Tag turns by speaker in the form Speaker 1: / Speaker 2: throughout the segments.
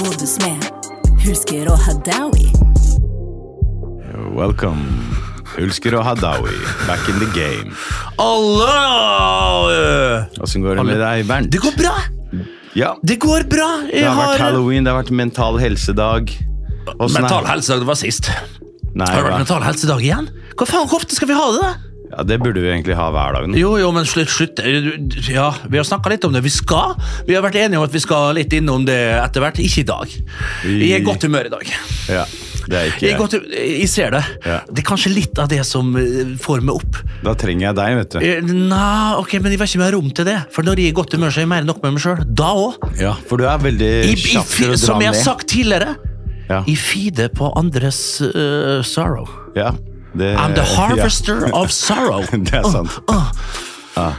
Speaker 1: modus med. Husker å ha Dowie.
Speaker 2: Welcome. Hulsker og Hadawi, back in the game.
Speaker 3: Alle!
Speaker 2: Åssen går det med deg, Bernt?
Speaker 3: Det går bra!
Speaker 2: Ja,
Speaker 3: Det går bra!
Speaker 2: det
Speaker 3: Jeg
Speaker 2: har vært
Speaker 3: har eh,
Speaker 2: halloween, det har vært mental helsedag. Åssen er-
Speaker 3: Mental helsedag det var sist.
Speaker 2: Nei,
Speaker 3: Har det vært
Speaker 2: hva?
Speaker 3: mental helsedag igjen? Hva faen, Hvor ofte skal vi ha det? da?
Speaker 2: Ja, det burde vi egentlig ha hver dag nå.
Speaker 3: Jo, jo, men slutt, slutt. Eh, Ja, Vi har snakka litt om det. Vi skal. Vi har vært enige om at vi skal litt innom det etter hvert. Ikke i dag.
Speaker 2: Vi-
Speaker 3: Jeg er i godt humør i dag.
Speaker 2: Ja, det er ikke
Speaker 3: Jeg, er i
Speaker 2: jeg.
Speaker 3: godt, hu- jeg ser det.
Speaker 2: Ja.
Speaker 3: Det er kanskje litt av det som eh, får meg opp.
Speaker 2: Da trenger jeg deg, vet du.
Speaker 3: Eh, Nei, ok, men jeg vet ikke om jeg har rom til det. For når jeg er i godt humør, så er jeg mer enn nok med meg sjøl. Da òg.
Speaker 2: Ja, for du er veldig kjapp til å dra
Speaker 3: Som jeg har
Speaker 2: med.
Speaker 3: sagt tidligere,
Speaker 2: Ja,
Speaker 3: i feeder på andres eh, sorrow.
Speaker 2: ja. Det,
Speaker 3: I'm the
Speaker 2: ja.
Speaker 3: harvester of sorrow. Ah.
Speaker 2: Det er sant.
Speaker 3: Oh.
Speaker 2: Ja.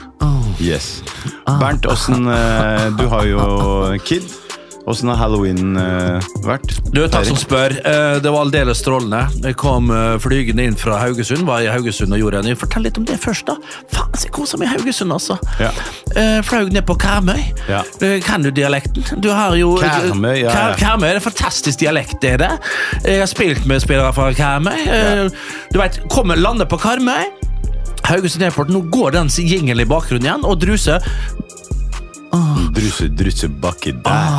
Speaker 2: Yes. Bernt, åssen eh, Du har jo kid. Åssen har halloween eh, vært?
Speaker 3: Du, takk som
Speaker 2: Eirik?
Speaker 3: spør. Eh, Det var aldeles strålende. Jeg kom eh, flygende inn fra Haugesund. Var i Haugesund og gjorde en Fortell litt om det først, da. Faen, så jeg koser meg i Haugesund, altså.
Speaker 2: Ja.
Speaker 3: Eh, Fløy ned på Karmøy.
Speaker 2: Ja.
Speaker 3: Eh, Kan du dialekten? Du har jo
Speaker 2: Karmøy, ja, ja.
Speaker 3: Kar Karmøy er en fantastisk dialekt, det er det. Jeg har spilt med spillere fra Karmøy. Eh, Du vet, kommer, lander på Karmøy. Haugesund Airport, nå går den jingelen i bakgrunnen igjen, og Druse
Speaker 2: Drusse, drusse, bakke der.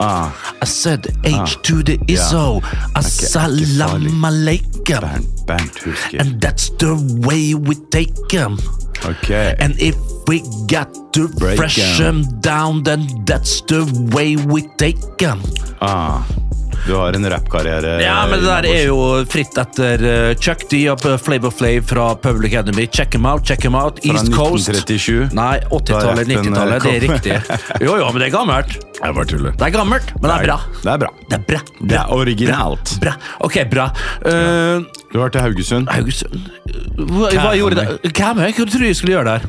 Speaker 2: Ah.
Speaker 3: I said H to the ISO. Assalam
Speaker 2: farlig.
Speaker 3: alaikum.
Speaker 2: Bernt, Bernt Hulsker.
Speaker 3: And that's the way we take them.
Speaker 2: Ok.
Speaker 3: And if we got to
Speaker 2: Break 'em.
Speaker 3: fresh them down, then that's the way we take them.
Speaker 2: Ah. Du har en rappkarriere.
Speaker 3: Ja, men det der er jo fritt etter eh, Chuck D og Flavor Flav fra Public Enemy. Check 'em out, check 'em out.
Speaker 2: Fra
Speaker 3: East Coast.
Speaker 2: 1937.
Speaker 3: Nei, 80-tallet,
Speaker 2: Da rappen, eh,
Speaker 3: 90-tallet. Det er
Speaker 2: kom.
Speaker 3: riktig. Jo, jo, men det er gammelt.
Speaker 2: Jeg bare tuller.
Speaker 3: Det er gammelt, men det er bra.
Speaker 2: Det er bra.
Speaker 3: Det er bra.
Speaker 2: Det er originalt.
Speaker 3: Bra. Ok, bra. Eh,
Speaker 2: Du har vært i Haugesund.
Speaker 3: Haugesund Hva, hva gjorde du? Hvem er jeg? Hva tror du jeg skulle gjøre der?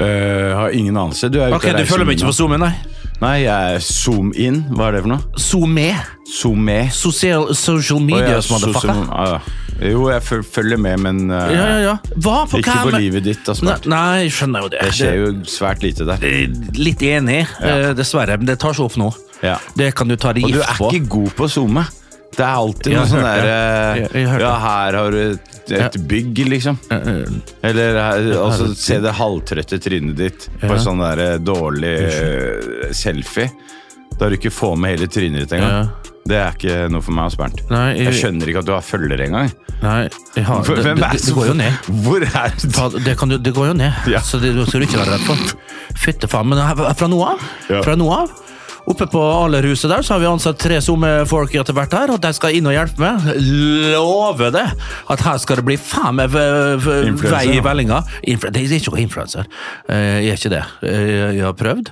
Speaker 2: Eh, har ingen anelse. Du er ute
Speaker 3: Ok, Du følger meg ikke på Zoom, nei?
Speaker 2: Nei, jeg er Zoom in. Hva er det for noe?
Speaker 3: Zoom med.
Speaker 2: Zoom med.
Speaker 3: Social, social media, motherfucker.
Speaker 2: ah, ja. Jo, jeg føl- følger med, men eh,
Speaker 3: Ja, ja, ja. Hva på
Speaker 2: ikke
Speaker 3: hvem-
Speaker 2: på livet ditt. Altså,
Speaker 3: Nei,
Speaker 2: Bernt.
Speaker 3: nei, jeg skjønner jo det.
Speaker 2: det skjer jo svært lite der.
Speaker 3: Eh, Litt enig, eh, dessverre. Men det tar seg opp nå.
Speaker 2: Ja.
Speaker 3: Det kan du ta deg
Speaker 2: Og du
Speaker 3: gift
Speaker 2: er
Speaker 3: på.
Speaker 2: ikke god på å zoome. Det er alltid
Speaker 3: Jeg
Speaker 2: noe
Speaker 3: har
Speaker 2: sånn
Speaker 3: hørt
Speaker 2: der eh,
Speaker 3: det. Jeg- jeg har hørt
Speaker 2: Ja,
Speaker 3: det.
Speaker 2: her har du et, et bygg, liksom.
Speaker 3: Eh,
Speaker 2: Eller her- altså, se det halvtrøtte trynet ditt på en sånn der eh, dårlig eh, selfie. Der du ikke får med hele trynet ditt engang. Det er ikke noe for meg, ass, Bernt.
Speaker 3: Nei, jeg-
Speaker 2: Jeg skjønner ikke at du har følgere engang.
Speaker 3: Nei, jeg har,
Speaker 2: Hvem
Speaker 3: det, det,
Speaker 2: er
Speaker 3: det, det
Speaker 2: som-
Speaker 3: går jo ned.
Speaker 2: Hvor er det?
Speaker 3: Ta- Det, kan du, det går jo ned,
Speaker 2: Ja.
Speaker 3: så det det skal du ikke være redd for. Fytte faen, men her- fra nå av,
Speaker 2: Ja.
Speaker 3: fra nå av Oppe på Alerhuset der, så har vi ansatt tre SoMe-folk etter hvert her, og de skal inn og hjelpe meg. Lover det! At her skal det bli faen meg v- v-
Speaker 2: Influencer,
Speaker 3: vei i
Speaker 2: ja.
Speaker 3: vellinga. Influ det er ikke noe influenser. Eh, Jeg er ikke det. Eh, Jeg har prøvd.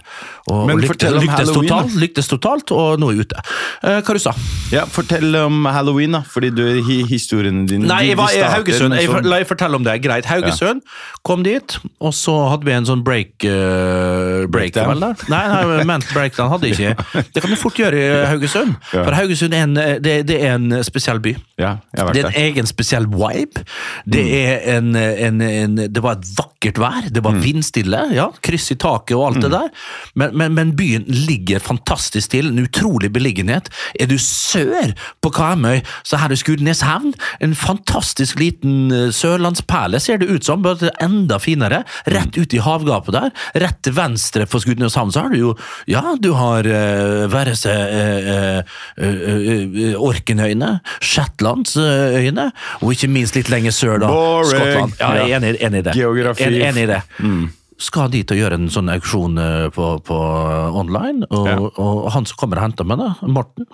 Speaker 3: Og,
Speaker 2: Men
Speaker 3: og lyktes,
Speaker 2: fortell om
Speaker 3: lyktes,
Speaker 2: Halloween,
Speaker 3: totalt, lyktes totalt, og nå er jeg ute. Eh, Hva du sa du?
Speaker 2: Ja, fortell om halloween, da. Fordi du, hi- historiene dine
Speaker 3: Nei,
Speaker 2: de-
Speaker 3: jeg var
Speaker 2: de
Speaker 3: i
Speaker 2: starter
Speaker 3: Haugesund.
Speaker 2: med
Speaker 3: Jeg,
Speaker 2: sånn-
Speaker 3: la jeg fortelle om det. Greit. Haugesund. Kom dit, og så hadde vi en sånn break... eh, break
Speaker 2: Breakdown?
Speaker 3: vel, da? Nei, nei, men breakdown hadde jeg ikke. Det kan du fort gjøre i Haugesund.
Speaker 2: Ja.
Speaker 3: For Haugesund er en, eh, det, det er en spesiell by.
Speaker 2: Ja, jeg har vært
Speaker 3: Det er
Speaker 2: der. Mm.
Speaker 3: en egen spesiell vibe. Det, er en, en, en, det var et vakkert vær, det var vindstille, ja, kryss i taket og alt
Speaker 2: Mm.
Speaker 3: det der. Men, men, men byen ligger fantastisk til, en utrolig beliggenhet. Er du sør på Karmøy, så her er Skudeneshavn. En fantastisk liten eh, sørlandsperle, ser det ut som, bare enda finere. Rett ut i havgapet der, rett til venstre for Skudeneshavn, så har du jo Ja, du har uh, være seg eh, eh, eh, eh, Orkenøyene, Shetlandsøyene, og ikke minst litt lenger sør, da.
Speaker 2: Boring!
Speaker 3: Skottland. Ja, jeg er enig, enig i det.
Speaker 2: Geografi. Mm.
Speaker 3: En, enig i det. Skal dit og gjøre en sånn auksjon eh, på, på online, og,
Speaker 2: Ja.
Speaker 3: og han som kommer og henter meg, da, Morten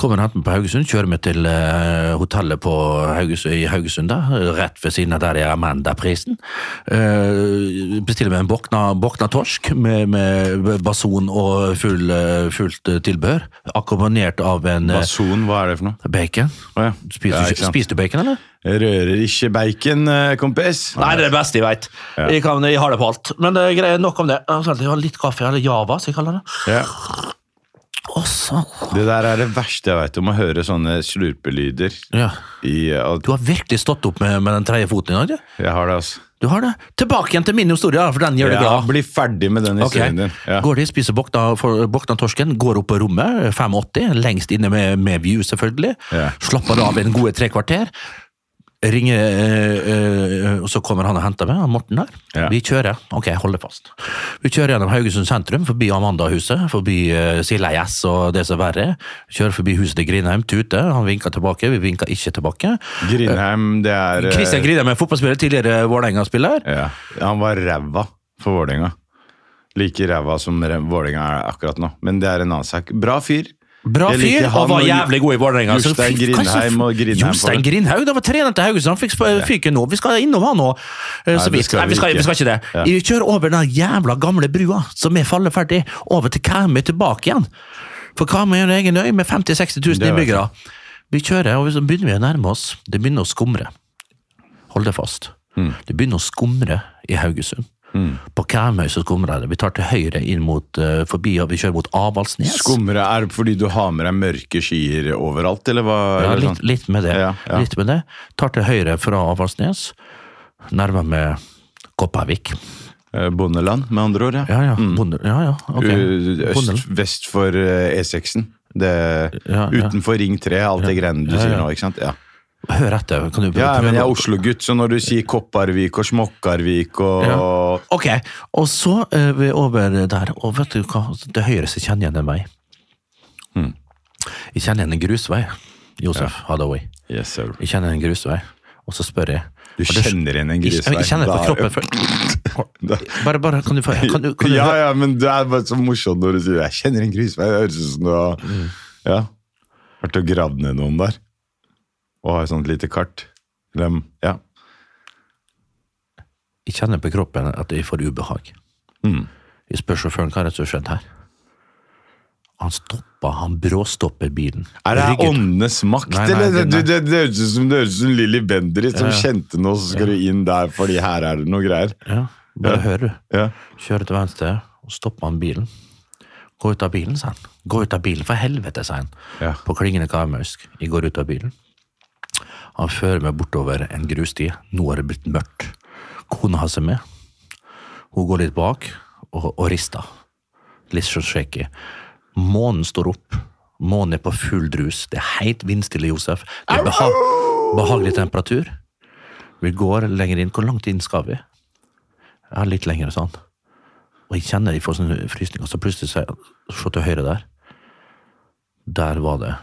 Speaker 3: Kommer og henter meg på Haugesund, kjører meg til eh, hotellet på Haugesund, i Haugesund, da, rett ved siden av der jeg er Amandaprisen. Eh, bestiller meg en bokna, bokna torsk med, med bason og full, eh, fullt eh, tilbehør, akkompagnert av en eh,
Speaker 2: Bason, hva er det for noe?
Speaker 3: Bacon.
Speaker 2: Å ja.
Speaker 3: Spiser,
Speaker 2: Ja,
Speaker 3: du-
Speaker 2: ikke sant.
Speaker 3: spiser du bacon, eller?
Speaker 2: Jeg Rører ikke bacon, eh, kompis.
Speaker 3: Nei, det er det beste jeg veit. Jeg, kan- jeg har det på alt. Men det er greit, nok om det. Jeg har litt kaffe, eller Java, som jeg kaller det.
Speaker 2: Ja.
Speaker 3: Og så
Speaker 2: Det der er det verste jeg veit om å høre sånne slurpelyder.
Speaker 3: ja.
Speaker 2: I, eh, at-
Speaker 3: Du har virkelig stått opp med, med den tredje foten i dag, du.
Speaker 2: jeg har det, altså.
Speaker 3: Du har det. Tilbake igjen til min historie, da, for den gjør det
Speaker 2: Ja,
Speaker 3: glad.
Speaker 2: bli ferdig med den
Speaker 3: Ok.
Speaker 2: historien din. Ja.
Speaker 3: Går de, spiser bokna, for- bokna torsken, går opp på rommet, 5,80, lengst inne med, med view selvfølgelig.
Speaker 2: Ja.
Speaker 3: Slapper av en gode tre kvarter. Ringer, eh, eh, og så kommer han og henter meg, han Morten der.
Speaker 2: Ja.
Speaker 3: Vi kjører, ok, jeg holder fast. Vi kjører gjennom Haugesund sentrum, forbi Amanda-huset, forbi uh, Silja S og det som er verre. Kjører forbi huset til Grinheim, tute, han vinker tilbake, vi vinker ikke tilbake.
Speaker 2: Grindheim, det er eh,
Speaker 3: Kristian Grinheim er fotballspiller, tidligere Vålerenga-spiller.
Speaker 2: Ja. Han var ræva for Vålerenga. Like ræva som Re- Vålerenga er akkurat nå. Men det er en annen sak. Bra fyr.
Speaker 3: Bra
Speaker 2: Jeg
Speaker 3: fyr,
Speaker 2: liker han
Speaker 3: og var
Speaker 2: og
Speaker 3: jævlig god i Vålerenga. Så
Speaker 2: Jostein
Speaker 3: fy-
Speaker 2: Grindheim
Speaker 3: kanskje-
Speaker 2: og Grindheim på
Speaker 3: Jostein
Speaker 2: det.
Speaker 3: Grindhaug, det var trener til Haugesund. Han fikk sp- fyken nå. Vi skal innom han nå. eh, Så
Speaker 2: det
Speaker 3: vidt.
Speaker 2: skal
Speaker 3: Nei,
Speaker 2: vi
Speaker 3: vi skal,
Speaker 2: ikke.
Speaker 3: vi skal ikke det.
Speaker 2: Ja.
Speaker 3: Vi kjører over den jævla gamle brua, som er falleferdig, over til Karmøy tilbake igjen. For Karmøy er en egen øy med 50
Speaker 2: Det
Speaker 3: 000-60 000
Speaker 2: vet jeg.
Speaker 3: innbyggere. Vi kjører, og så begynner vi å nærme oss. Det begynner å skumre. Hold det fast.
Speaker 2: Mm.
Speaker 3: Det begynner å skumre i Haugesund. På Karmøy så skumrer det. Vi tar til høyre inn mot eh, forbi, og vi kjører mot Avaldsnes.
Speaker 2: Skumre er det fordi du har med deg mørke skyer overalt, eller hva?
Speaker 3: Ja,
Speaker 2: eller
Speaker 3: litt,
Speaker 2: sånn?
Speaker 3: litt med det.
Speaker 2: Ja, ja.
Speaker 3: Litt med det. Tar til høyre fra Avaldsnes, nærmer meg Kopervik.
Speaker 2: Eh, Bondeland, med andre ord.
Speaker 3: Ja, ja. Bonde, ja, ja. ok.
Speaker 2: Mm. U-
Speaker 3: Bondeland.
Speaker 2: Øst, vest for eh, E6-en. Det,
Speaker 3: Ja, ja.
Speaker 2: Utenfor Ring 3, alt det greiene du
Speaker 3: Ja,
Speaker 2: sier
Speaker 3: ja.
Speaker 2: nå. ikke sant? Ja.
Speaker 3: Hør etter. Kan du
Speaker 2: ja,
Speaker 3: prøve
Speaker 2: men jeg er
Speaker 3: å-
Speaker 2: Oslo-gutt, så når du sier Kopparvik og Smokkarvik og
Speaker 3: Ja. Ok, og så eh, vi er over der, og vet du hva, til høyre så kjenner jeg igjen en vei.
Speaker 2: Mm.
Speaker 3: Jeg kjenner igjen en grusvei, Josef Hathaway.
Speaker 2: Yes, sir.
Speaker 3: Jeg kjenner igjen en grusvei, og så spør jeg.
Speaker 2: Du
Speaker 3: og det-
Speaker 2: kjenner igjen en
Speaker 3: Jeg-
Speaker 2: grisvei.
Speaker 3: Jeg kjenner det på
Speaker 2: Da-
Speaker 3: kroppen. før- Bare, bare, kan du få kan du, kan du,
Speaker 2: ja, ja, men det er bare så morsomt når du sier 'jeg kjenner en grusvei'. Det høres ut som du har
Speaker 3: Mm.
Speaker 2: ja, vært og gravd ned noen der. Og har et sånt lite kart. Eller, ja.
Speaker 3: Jeg kjenner på kroppen at jeg får ubehag.
Speaker 2: Mm.
Speaker 3: Jeg spør sjåføren hva er det som har skjedd her. Han stopper, han bråstopper bilen.
Speaker 2: Er det her
Speaker 3: Ryggen-
Speaker 2: åndenes makt,
Speaker 3: Nei, nei,
Speaker 2: eller?
Speaker 3: det-
Speaker 2: Det, det, det høres ut som, det høres ut som Lilly Bendriss som
Speaker 3: Ja, ja.
Speaker 2: kjente noe, så skal du inn der fordi her er det noe greier.
Speaker 3: Ja, bare
Speaker 2: Ja.
Speaker 3: hør du.
Speaker 2: Ja.
Speaker 3: Kjører til venstre, og stopper han bilen. Gå ut av bilen, sa han. Gå ut av bilen, for helvete, sa han.
Speaker 2: Ja.
Speaker 3: På klingende karmøysk. Jeg går ut av bilen. Han fører meg bortover en grussti. Nå har det blitt mørkt. Kona har seg med. Hun går litt bak og, og rister. Litt så shaky. Månen står opp. Månen er på full drus. Det er helt vindstille, Josef. Det er beha behagelig temperatur. Vi går lenger inn. Hvor langt inn skal vi? Ja, litt lenger, sånn. Og jeg kjenner jeg får sånn frysning, og så plutselig ser jeg Se til høyre der. Der var det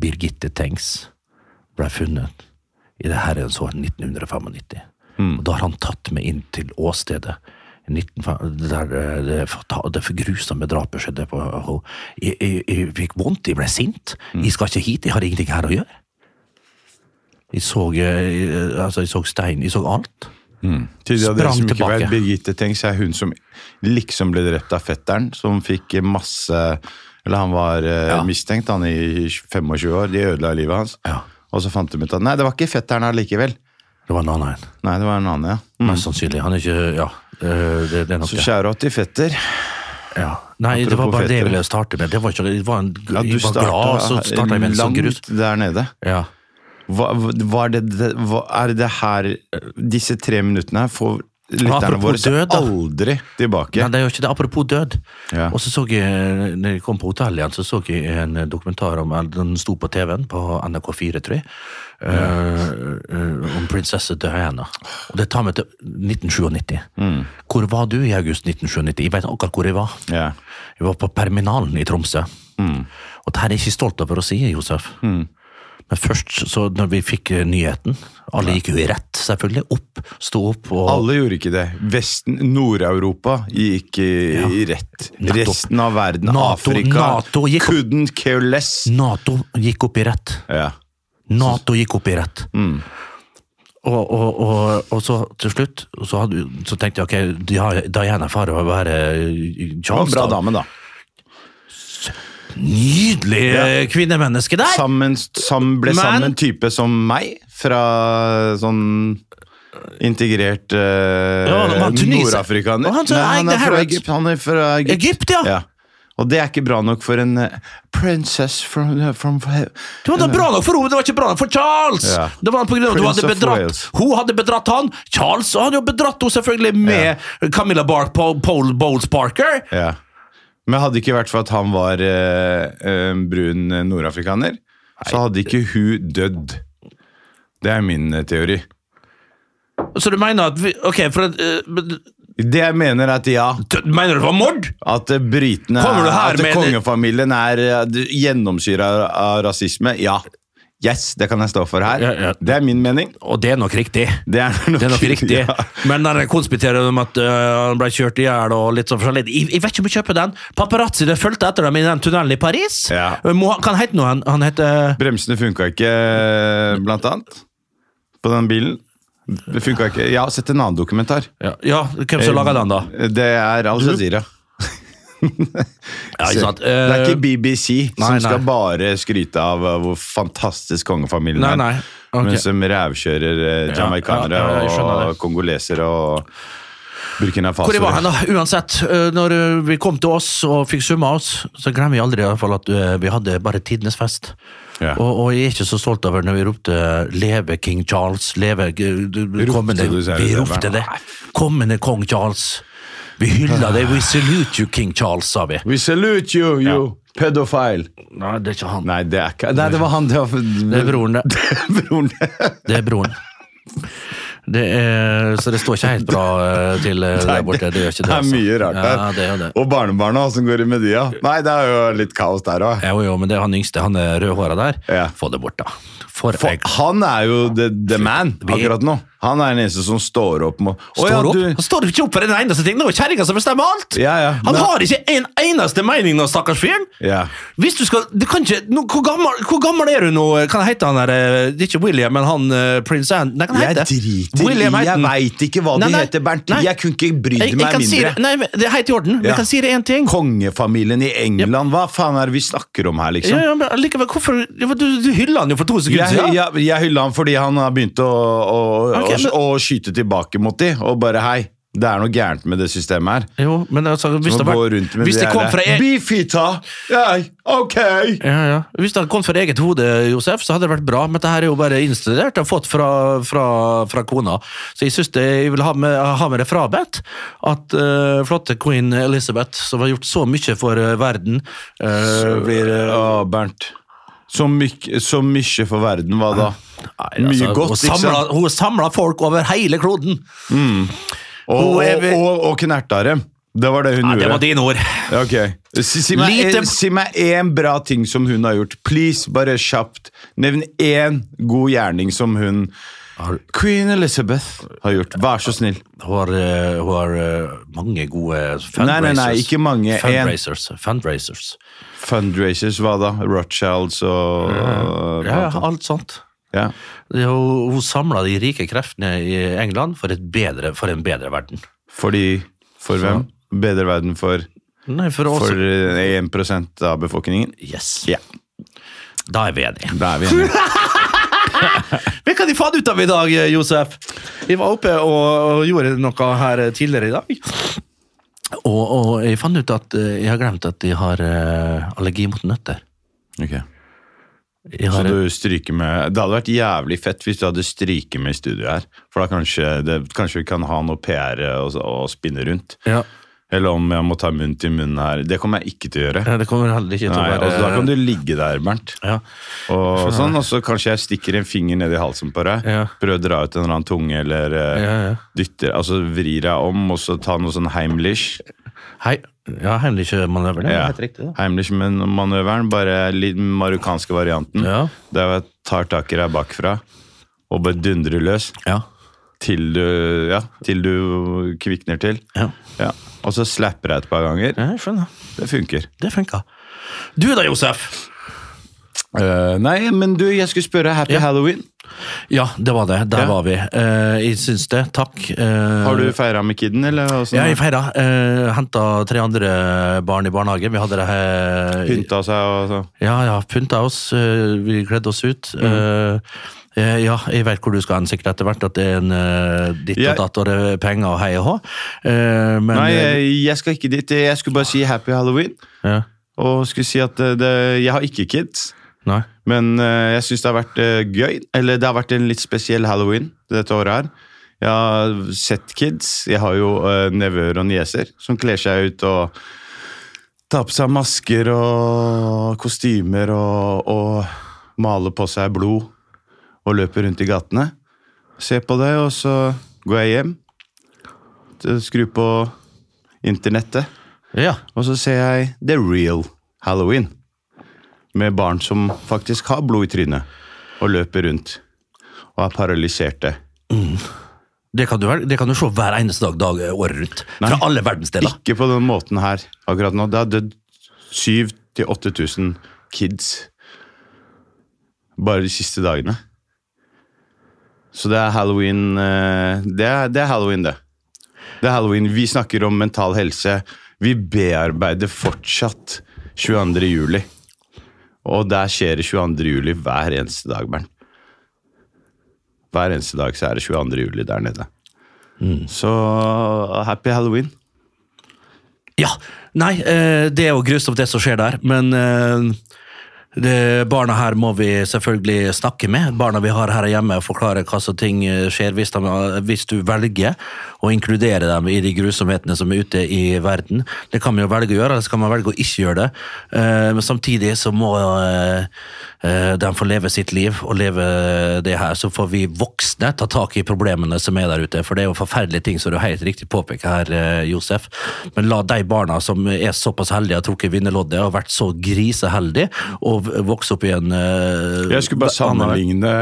Speaker 3: Birgitte Tengs ble funnet i det herrens år 1995. Og da har han tatt meg inn til åstedet. i 1905 Der eh, det, fata- det grusomme drapet skjedde på henne. Jeg, jeg, jeg fikk vondt, jeg ble sint. Jeg skal ikke hit, jeg har ingenting her å gjøre. Jeg så, eh, altså, jeg så stein, jeg så alt.
Speaker 2: Til de av dere
Speaker 3: Sprang
Speaker 2: som ikke
Speaker 3: tilbake.
Speaker 2: vet, Birgitte Tengs er hun som liksom ble drept av fetteren, som fikk masse Eller han var eh,
Speaker 3: Ja.
Speaker 2: mistenkt, han i 25 år. De ødela livet hans.
Speaker 3: Ja.
Speaker 2: Og så fant de ut at nei, det var ikke fetteren allikevel.
Speaker 3: Det var en annen en.
Speaker 2: Nei, det var en annen, ja.
Speaker 3: Mest sannsynlig. Han er ikke Ja, øh, det, det er nok
Speaker 2: Mm. Så
Speaker 3: det.
Speaker 2: kjære åt til fetter.
Speaker 3: Ja. Nei, det var
Speaker 2: Apropos
Speaker 3: bare det jeg
Speaker 2: fetere.
Speaker 3: ville starte med. Det var ikke, det var en,
Speaker 2: Ja,
Speaker 3: jeg var glad, så starta jeg med en sånn grus.
Speaker 2: langt der nede.
Speaker 3: Ja.
Speaker 2: Hva, var det, det, hva, er det her Disse tre minuttene her får lytterne
Speaker 3: apropos
Speaker 2: våre så
Speaker 3: død, da.
Speaker 2: aldri tilbake.
Speaker 3: Nei, det gjør ikke det. Apropos død.
Speaker 2: Ja.
Speaker 3: Og så så jeg, eh, når jeg kom på hotellet igjen, så så jeg en dokumentar om eller Den sto på TV-en på NRK4, tror jeg. eh, eh, om prinsesse Diana. Og det tar meg til 1997.
Speaker 2: Mm.
Speaker 3: Hvor var du i august 1997? Jeg vet akkurat hvor jeg var.
Speaker 2: Ja.
Speaker 3: Jeg var på Perminalen i Tromsø.
Speaker 2: Mm.
Speaker 3: Og det her er jeg ikke stolt over å si, Josef. Men først, så når vi fikk eh, nyheten Alle gikk jo i rett, selvfølgelig. Opp, stå opp. Og,
Speaker 2: Alle gjorde ikke det. Vesten, Nord-Europa gikk i, i rett.
Speaker 3: Nettopp.
Speaker 2: Resten av verden,
Speaker 3: NATO-
Speaker 2: Afrika,
Speaker 3: NATO gikk opp.
Speaker 2: couldn't care less.
Speaker 3: Nato gikk opp i rett.
Speaker 2: Ja.
Speaker 3: Nato gikk opp i rett.
Speaker 2: Mm.
Speaker 3: Og, og, og, og så til slutt så, hadde, så tenkte jeg ok, de har- Diana Farrow å være
Speaker 2: Det var en bra
Speaker 3: eh, Charleston.
Speaker 2: dame, da.
Speaker 3: Nydelig eh, kvinnemenneske der!
Speaker 2: Sammen, sam, ble
Speaker 3: Men-
Speaker 2: sammen en type som meg, fra sånn integrert eh,
Speaker 3: Ja, han var tunisier.
Speaker 2: nordafrikaner.
Speaker 3: Og han som
Speaker 2: Nei,
Speaker 3: eide
Speaker 2: er fra
Speaker 3: Harrods.
Speaker 2: Egypt. Han er fra Egypt.
Speaker 3: Egypt, ja.
Speaker 2: Ja. Og det er ikke bra nok for en eh, princess from, eh, from
Speaker 3: Det var da bra nok for henne, men det var ikke bra nok for Charles!
Speaker 2: Ja.
Speaker 3: Det var på grunn av at hun
Speaker 2: Prince
Speaker 3: hadde
Speaker 2: of
Speaker 3: bedratt
Speaker 2: Wales.
Speaker 3: Hun hadde bedratt han! Charles hadde jo bedratt henne, selvfølgelig, med Camilla Bark Pole, Pole Bowles Parker.
Speaker 2: Ja. Men hadde det ikke vært for at han var eh, en brun eh, nordafrikaner, så hadde ikke hun dødd. Det er min eh, teori.
Speaker 3: Så du mener at vi, Ok, for at, eh, men-
Speaker 2: Det jeg mener er at ja,
Speaker 3: t- Mener du det var mord?
Speaker 2: at eh, britene
Speaker 3: Kommer du
Speaker 2: er,
Speaker 3: her
Speaker 2: At eh,
Speaker 3: med en-
Speaker 2: kongefamilien er eh, d- gjennomsyra av- av rasisme. Ja. Yes, det kan jeg stå for her.
Speaker 3: Ja, ja.
Speaker 2: Det er min mening.
Speaker 3: Og det er nok riktig.
Speaker 2: Det er nok,
Speaker 3: Det er nok riktig.
Speaker 2: Ja.
Speaker 3: Men når jeg konspiterer om at øh, han ble kjørt i hjel og litt sånn forskjellig jeg, jeg vet ikke om jeg kjøper den. Paparazzi det fulgte etter dem i den tunnelen i Paris. Eh,
Speaker 2: Ja.
Speaker 3: Må, kan hete noe han, han heter
Speaker 2: Bremsene funka ikke, eh, blant annet, på den bilen. Det funka ikke. Jeg har sett en annen dokumentar.
Speaker 3: Ja, hvem
Speaker 2: Eh,
Speaker 3: som laga den, da?
Speaker 2: Det er Al Jazeera.
Speaker 3: Ja, ikke sant?
Speaker 2: Det er
Speaker 3: Eh,
Speaker 2: ikke BBC
Speaker 3: Nei,
Speaker 2: som
Speaker 3: nei.
Speaker 2: skal bare skryte av uh, hvor fantastisk kongefamilien
Speaker 3: Nei,
Speaker 2: er,
Speaker 3: nei. Ok.
Speaker 2: men som rævkjører uh, jamaicanere
Speaker 3: ja, ja, jeg skjønner
Speaker 2: og kongolesere og Burkina Faso.
Speaker 3: Hvor jeg var hen, da? Uansett, øh, når øh, vi kom til oss og fikk summa oss, så glemmer vi aldri i hvert fall at øh, vi hadde bare tidenes fest.
Speaker 2: Ja.
Speaker 3: Og, og jeg er ikke så stolt over når vi ropte 'Leve King Charles', leve øh, du- du-
Speaker 2: Ropte
Speaker 3: kommende,
Speaker 2: du, sier
Speaker 3: Vi
Speaker 2: du,
Speaker 3: ropte
Speaker 2: Bjørn?
Speaker 3: det. Kommende kong Charles. Vi hylla deg. We salute you, King Charles, sa vi.
Speaker 2: We salute you, you pedophile!
Speaker 3: Nei, det er ikke han.
Speaker 2: Nei, det er ikke Nei, det var han. Det var
Speaker 3: Det er broren, det.
Speaker 2: broren.
Speaker 3: Det er broren. Det er, så det står ikke helt bra øh, til øh, der borte. Det gjør ikke
Speaker 2: Det
Speaker 3: det.
Speaker 2: er
Speaker 3: altså.
Speaker 2: mye rart
Speaker 3: ja,
Speaker 2: der.
Speaker 3: det er jo det.
Speaker 2: Og barnebarna, åssen går det med de, da? Nei, det er jo litt kaos der òg.
Speaker 3: Jo, jo, men det er han yngste, han er rødhåra der.
Speaker 2: Ja.
Speaker 3: Få det bort, da. For,
Speaker 2: For
Speaker 3: ei-
Speaker 2: han er jo the, the man akkurat nå. Han er den eneste som står opp med Å,
Speaker 3: Står
Speaker 2: ja,
Speaker 3: opp.
Speaker 2: du-
Speaker 3: Han står ikke opp for en eneste ting! Nå er kjerringa som bestemmer alt!
Speaker 2: Ja, ja.
Speaker 3: Han
Speaker 2: Nei.
Speaker 3: har ikke en eneste mening nå, stakkars fyren!
Speaker 2: Ja.
Speaker 3: Hvis du skal, du kan ikke, nå, hvor, gammel, hvor gammel er du nå? Hva heter han der? eh, Det er ikke William, men han eh, prins Anne Nei, hva
Speaker 2: Jeg
Speaker 3: heter
Speaker 2: driter i
Speaker 3: William heter
Speaker 2: Jeg
Speaker 3: han.
Speaker 2: veit ikke hva
Speaker 3: Nei,
Speaker 2: de
Speaker 3: nei,
Speaker 2: heter, Bernt.
Speaker 3: nei.
Speaker 2: Jeg kunne ikke brydd
Speaker 3: Jeg, jeg
Speaker 2: meg
Speaker 3: kan si det.
Speaker 2: mindre.
Speaker 3: Nei, men det er helt i orden. Men
Speaker 2: Ja.
Speaker 3: Jeg kan si det én ting.
Speaker 2: Kongefamilien i England, hva faen er det vi snakker om her,
Speaker 3: Ja,
Speaker 2: liksom?
Speaker 3: ja, men likevel, hvorfor ja, men Du, du hylla han jo for to sekunder
Speaker 2: Jeg,
Speaker 3: siden.
Speaker 2: jeg, jeg hyller ham fordi han har begynt å, å, å,
Speaker 3: Ok, men-
Speaker 2: å skyte tilbake mot de, og bare hei, det er noe gærent med det systemet her.
Speaker 3: Jo, men altså, hvis
Speaker 2: Som
Speaker 3: det,
Speaker 2: å gå
Speaker 3: var,
Speaker 2: rundt med
Speaker 3: hvis det
Speaker 2: de
Speaker 3: kom
Speaker 2: her,
Speaker 3: fra en-
Speaker 2: Beefita! Ei, ok!
Speaker 3: Ja, ja. Hvis det hadde kommet fra eget hode, Josef, så hadde det vært bra, men dette er jo bare innstudert og fått fra, fra, fra kona. Så jeg synes det, jeg vil ha med, ha med det frabedt at eh, flotte queen Elizabeth, som har gjort så mye for eh, verden eh, blir, eh,
Speaker 2: Å, Bernt. Så, myk, så mye for verden, hva da?
Speaker 3: nei,
Speaker 2: mye godt,
Speaker 3: altså,
Speaker 2: ikke
Speaker 3: hun
Speaker 2: sant?
Speaker 3: samlet- Hun samla folk over hele kloden!
Speaker 2: Og,
Speaker 3: Hun er
Speaker 2: og,
Speaker 3: vel-
Speaker 2: og, og knerta dem. Det var det hun
Speaker 3: Nei,
Speaker 2: gjorde.
Speaker 3: det var dine ord.
Speaker 2: Ok. Si, si, meg,
Speaker 3: Lite-
Speaker 2: eh, si meg én bra ting som hun har gjort. Please, bare kjapt. Nevn én god gjerning som hun Queen Elizabeth har gjort. Vær så snill.
Speaker 3: Hun har, eh, hun har eh, mange gode fundraisers.
Speaker 2: Nei, nei, nei, ikke mange. En.
Speaker 3: Fundraisers. fundraisers.
Speaker 2: Fundraisers, hva da? Rothschilds og
Speaker 3: Ja, ja, alt sånt.
Speaker 2: Ja.
Speaker 3: Det er jo- Hun samla de rike kreftene i England for, et bedre, for en bedre verden.
Speaker 2: Fordi For hvem? Bedre verden for,
Speaker 3: Nei, for oss
Speaker 2: for eh, 1 av befolkningen?
Speaker 3: Yes.
Speaker 2: Ja.
Speaker 3: Da er vi enige.
Speaker 2: Da er vi enige.
Speaker 3: Hvilken de fant ut av i dag, eh, Josef? Jeg var oppe og, og gjorde noe her eh, tidligere i dag. Og, og jeg fant ut at eh, jeg har glemt at jeg har eh, allergi mot nøtter.
Speaker 2: Ok.
Speaker 3: Jeg
Speaker 2: Så
Speaker 3: har,
Speaker 2: du stryker med Det hadde vært jævlig fett hvis du hadde stryket med i studio her. For da kanskje, det, kanskje vi kan ha noe PR og, og spinne rundt.
Speaker 3: ja,
Speaker 2: Eller om jeg må ta munn til munn her. Det kommer jeg ikke til å gjøre.
Speaker 3: ja, det kommer heller ikke til
Speaker 2: Nei,
Speaker 3: å
Speaker 2: altså, da kan
Speaker 3: være
Speaker 2: du ligge der, Bernt.
Speaker 3: ja.
Speaker 2: Og, sånn, og så kanskje jeg stikker en finger ned i halsen på deg.
Speaker 3: Ja.
Speaker 2: Prøver å dra ut en eller annen tunge, eller eh,
Speaker 3: Ja, ja.
Speaker 2: dytter Altså vrir deg om, og så ta noe sånn Heimlich.
Speaker 3: Hei. Ja, hemmelig manøver. Det er
Speaker 2: Ja.
Speaker 3: helt riktig. da.
Speaker 2: Heimlich-manøveren, bare litt den marokkanske varianten.
Speaker 3: Ja.
Speaker 2: Der jeg tar tak i deg bakfra og bare dundrer løs
Speaker 3: Ja.
Speaker 2: til du, ja, til du kvikner til.
Speaker 3: ja.
Speaker 2: Ja. Og så slapper jeg et par ganger.
Speaker 3: ja jeg skjønner.
Speaker 2: Det funker.
Speaker 3: Det funka. Du da, Josef?
Speaker 2: Eh, nei, men du, jeg skulle spørre Happy
Speaker 3: Ja.
Speaker 2: Halloween.
Speaker 3: Ja, det var det. Der
Speaker 2: Ja.
Speaker 3: var vi. Eh, jeg syns det. Takk. Eh,
Speaker 2: Har du feira med kidden, eller? åssen?
Speaker 3: ja, jeg feira. Uh, Henta tre andre barn i barnehagen. Vi hadde det her
Speaker 2: Pynta seg og så. Mm.
Speaker 3: Ja, ja, pynta oss. eh, vi kledde oss ut. Eh, Eh, Ja, jeg vet hvor du skal hen sikkert etter hvert, at det er en eh, ditt
Speaker 2: Jeg-
Speaker 3: og datt og det er penger og hei og hå. Eh, men,
Speaker 2: Nei, jeg, jeg skal ikke dit. Jeg skulle bare si happy halloween.
Speaker 3: ja.
Speaker 2: Og skulle si at eh, det, jeg har ikke kids.
Speaker 3: Nei.
Speaker 2: Men eh, jeg syns det har vært eh, gøy. Eller det har vært en litt spesiell halloween dette året her. Jeg har sett kids. Jeg har jo eh, nevøer og nieser som kler seg ut og tar på seg masker og kostymer og, og maler på seg blod og løper rundt i gatene. Ser på det, og så går jeg hjem. Skrur på internettet.
Speaker 3: Ja.
Speaker 2: Og så ser jeg The Real Halloween. Med barn som faktisk har blod i trynet. Og løper rundt. Og er paralyserte.
Speaker 3: Det kan, du, vel- det kan du se hver eneste dag, dag året rundt. Fra alle verdensdeler.
Speaker 2: Ikke på den måten her akkurat nå. Det har dødd 7000-8000 kids. Bare de siste dagene. Så det er halloween eh, Det er, det er halloween, det. Det er halloween. Vi snakker om mental helse. Vi bearbeider fortsatt 22. juli. Og der skjer det 22. juli hver eneste dag, Bernt. Hver eneste dag så er det 22. juli der nede. Så happy halloween.
Speaker 3: Ja, nei, eh, det er jo grusomt det som skjer der, men eh, det, barna her må vi selvfølgelig snakke med. Barna vi har her hjemme, forklare hva som ting eh, skjer hvis, de, hvis du velger å inkludere dem i de grusomhetene som er ute i verden. Det kan man jo velge å gjøre, eller så kan man velge å ikke gjøre det. Eh, men samtidig så må eh, eh, de få leve sitt liv og leve det her. Så får vi voksne ta tak i problemene som er der ute, for det er jo forferdelige ting som du helt riktig påpeker her, eh, Josef. Men la de barna som er såpass heldige og har trukket vinnerloddet og vært så griseheldige, og v- vokse opp i en eh,
Speaker 2: Jeg skulle bare sammenligne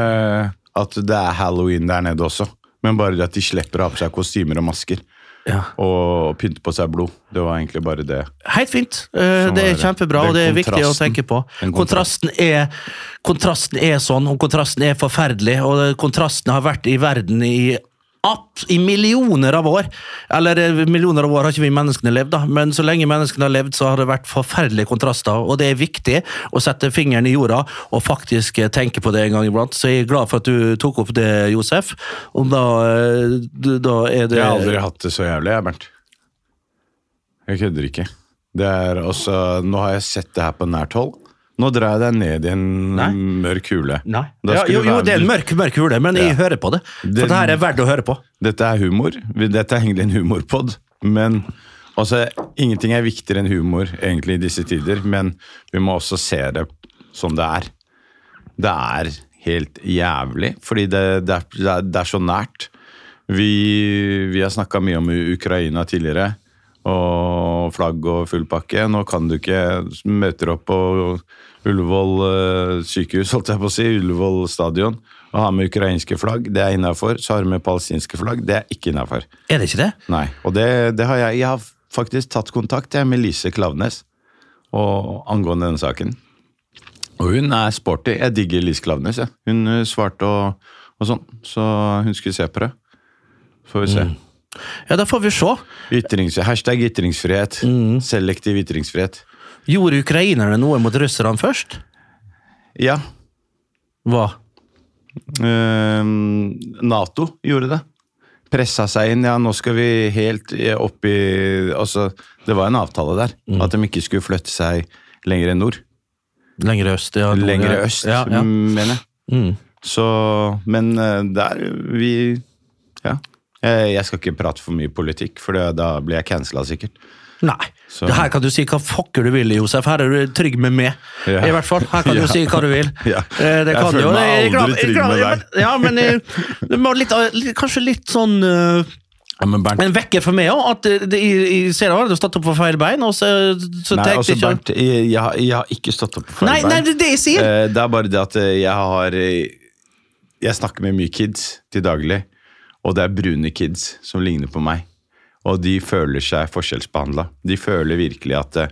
Speaker 2: at det er halloween der nede også. Men bare det at de slipper å ha på seg kostymer og masker.
Speaker 3: Ja.
Speaker 2: Og pynte på seg blod. Det var egentlig bare det.
Speaker 3: Helt fint. Eh,
Speaker 2: Sånn
Speaker 3: Det
Speaker 2: er
Speaker 3: er
Speaker 2: det.
Speaker 3: kjempebra,
Speaker 2: Den
Speaker 3: og det er viktig å
Speaker 2: kontrasten.
Speaker 3: tenke på.
Speaker 2: Den kontrasten.
Speaker 3: Kontrasten er, kontrasten er sånn, og kontrasten er forferdelig, og det- kontrasten har vært i verden i app- i millioner av år. Eller eh, millioner av år har ikke vi menneskene levd, da, men så lenge menneskene har levd, så har det vært forferdelige kontraster. Og det er viktig å sette fingeren i jorda og faktisk eh, tenke på det en gang iblant. Så jeg er glad for at du tok opp det, Josef. Om da, eh, du- da er det
Speaker 2: Jeg har aldri hatt det så jævlig, jeg, Bernt. Jeg kødder ikke. Det er også, nå har jeg sett det her på nært hold. Nå drar jeg deg ned i en
Speaker 3: Nei.
Speaker 2: mørk hule.
Speaker 3: Nei.
Speaker 2: Da
Speaker 3: Ja,
Speaker 2: skulle
Speaker 3: jo,
Speaker 2: du
Speaker 3: jo,
Speaker 2: være-
Speaker 3: det er en mørk, mørk hule, men jeg hører på det. For
Speaker 2: Den-
Speaker 3: det her er verdt å høre på.
Speaker 2: Dette er humor. Dette er egentlig en humorpod. Men altså, ingenting er viktigere enn humor egentlig i disse tider. Men vi må også se det som det er. Det er helt jævlig, fordi det, det, er, det, er, det er så nært. Vi, vi har snakka mye om U- Ukraina tidligere, og flagg og full pakke. Nå kan du ikke møter opp på Ullevål eh, sykehus, holdt jeg på å si, Ullevål stadion, og har med ukrainske flagg. Det er innafor. Så har du med palestinske flagg. Det er ikke innafor.
Speaker 3: Er det ikke det?
Speaker 2: Nei, og det, det har jeg. Jeg har faktisk tatt kontakt jeg, med Lise Klaveness og angående denne saken. Og hun er sporty. Jeg digger Lise Klaveness. jeg. Hun eh, svarte og, og sånn, så hun skulle se på det. Får vi se.
Speaker 3: Ja, da får vi se.
Speaker 2: Ytrings, hashtag ytringsfrihet. Selektiv ytringsfrihet.
Speaker 3: Gjorde ukrainerne noe mot russerne først?
Speaker 2: Ja,
Speaker 3: Hva?
Speaker 2: eh, Nato gjorde det. Pressa seg inn. Ja, nå skal vi helt eh, opp i Altså, det var en avtale der. At de ikke skulle flytte seg lenger enn nord.
Speaker 3: Lengre øst, ja. nord-
Speaker 2: Lengre øst,
Speaker 3: Ja, ja.
Speaker 2: mener jeg.
Speaker 3: Mm.
Speaker 2: Så, men eh, der vi Ja. Eh, Jeg skal ikke prate for mye politikk, for det, da blir jeg cancela sikkert.
Speaker 3: Nei.
Speaker 2: Så-
Speaker 3: Det her kan du si hva fucker du vil, Josef. Her er du trygg med meg.
Speaker 2: Ja.
Speaker 3: I hvert fall. Her kan du
Speaker 2: Ja.
Speaker 3: si hva du vil.
Speaker 2: Ja.
Speaker 3: Eh, Det
Speaker 2: Jeg
Speaker 3: kan
Speaker 2: føler
Speaker 3: du jo.
Speaker 2: meg
Speaker 3: Jeg er glad-
Speaker 2: aldri
Speaker 3: jeg er
Speaker 2: trygg med
Speaker 3: glad-
Speaker 2: deg.
Speaker 3: Ja, men eh, det må litt, litt- kanskje litt sånn eh,
Speaker 2: men Bernt,
Speaker 3: En vekker for meg òg, at eh, det, jeg, jeg ser det, du har stått opp på feil bein, og så, så
Speaker 2: nei,
Speaker 3: tenkte
Speaker 2: altså,
Speaker 3: jeg ikke-
Speaker 2: Bernt jeg, jeg, har- jeg har ikke stått opp for
Speaker 3: Nei,
Speaker 2: Bernt.
Speaker 3: nei, det er det jeg sier!
Speaker 2: Eh, Det er bare det at eh, jeg har eh, Jeg snakker med mye kids til daglig, og det er brune kids som ligner på meg. Og de føler seg forskjellsbehandla. De føler virkelig at eh,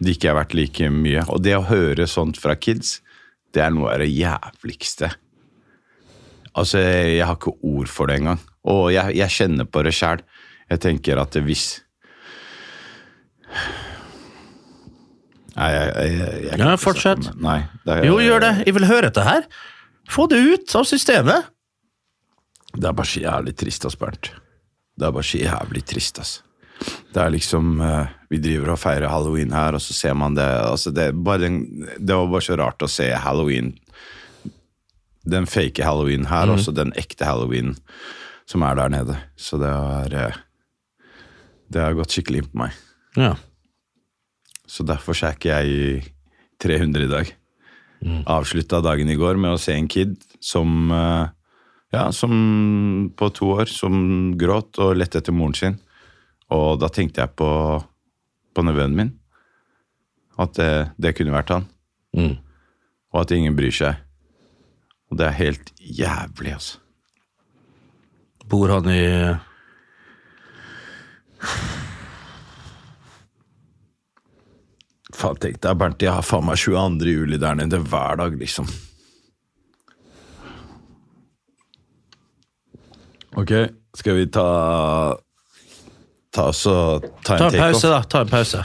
Speaker 2: de ikke er verdt like mye. Og det å høre sånt fra kids, det er noe av det jævligste. Altså, jeg har ikke ord for det engang. Og jeg, jeg kjenner på det sjæl. Jeg tenker at hvis Nei, jeg, jeg, jeg, jeg kan
Speaker 3: Ja,
Speaker 2: ikke snakke
Speaker 3: fortsett.
Speaker 2: om det. Nei, det er-
Speaker 3: Jo, gjør det. Jeg vil høre dette her. Få det ut av systemet!
Speaker 2: Det er bare så jævlig trist, ass, Bernt. Det er bare så jævlig trist, ass. Det er liksom eh, Vi driver og feirer halloween her, og så ser man det altså det, er bare den, det var bare så rart å se halloween. Den fake halloween her, og så den ekte halloween som er der nede. Så det har eh, Det har gått skikkelig inn på meg.
Speaker 3: Ja.
Speaker 2: Så derfor så er ikke jeg i 300 i dag. Avslutta dagen i går med å se en kid som eh, Ja, som på to år som gråt og lette etter moren sin. Og da tenkte jeg på, på nevøen min. At det, det kunne vært han.
Speaker 3: Mm.
Speaker 2: Og at ingen bryr seg. Og det er helt jævlig, altså.
Speaker 3: Bor han i
Speaker 2: Faen, tenk deg, Bernt, jeg har faen meg 22. juli der nede hver dag, liksom. Ok, skal vi ta Ta oss og ta
Speaker 3: Ta
Speaker 2: en
Speaker 3: en pause,
Speaker 2: takeoff?
Speaker 3: da. Ta en pause.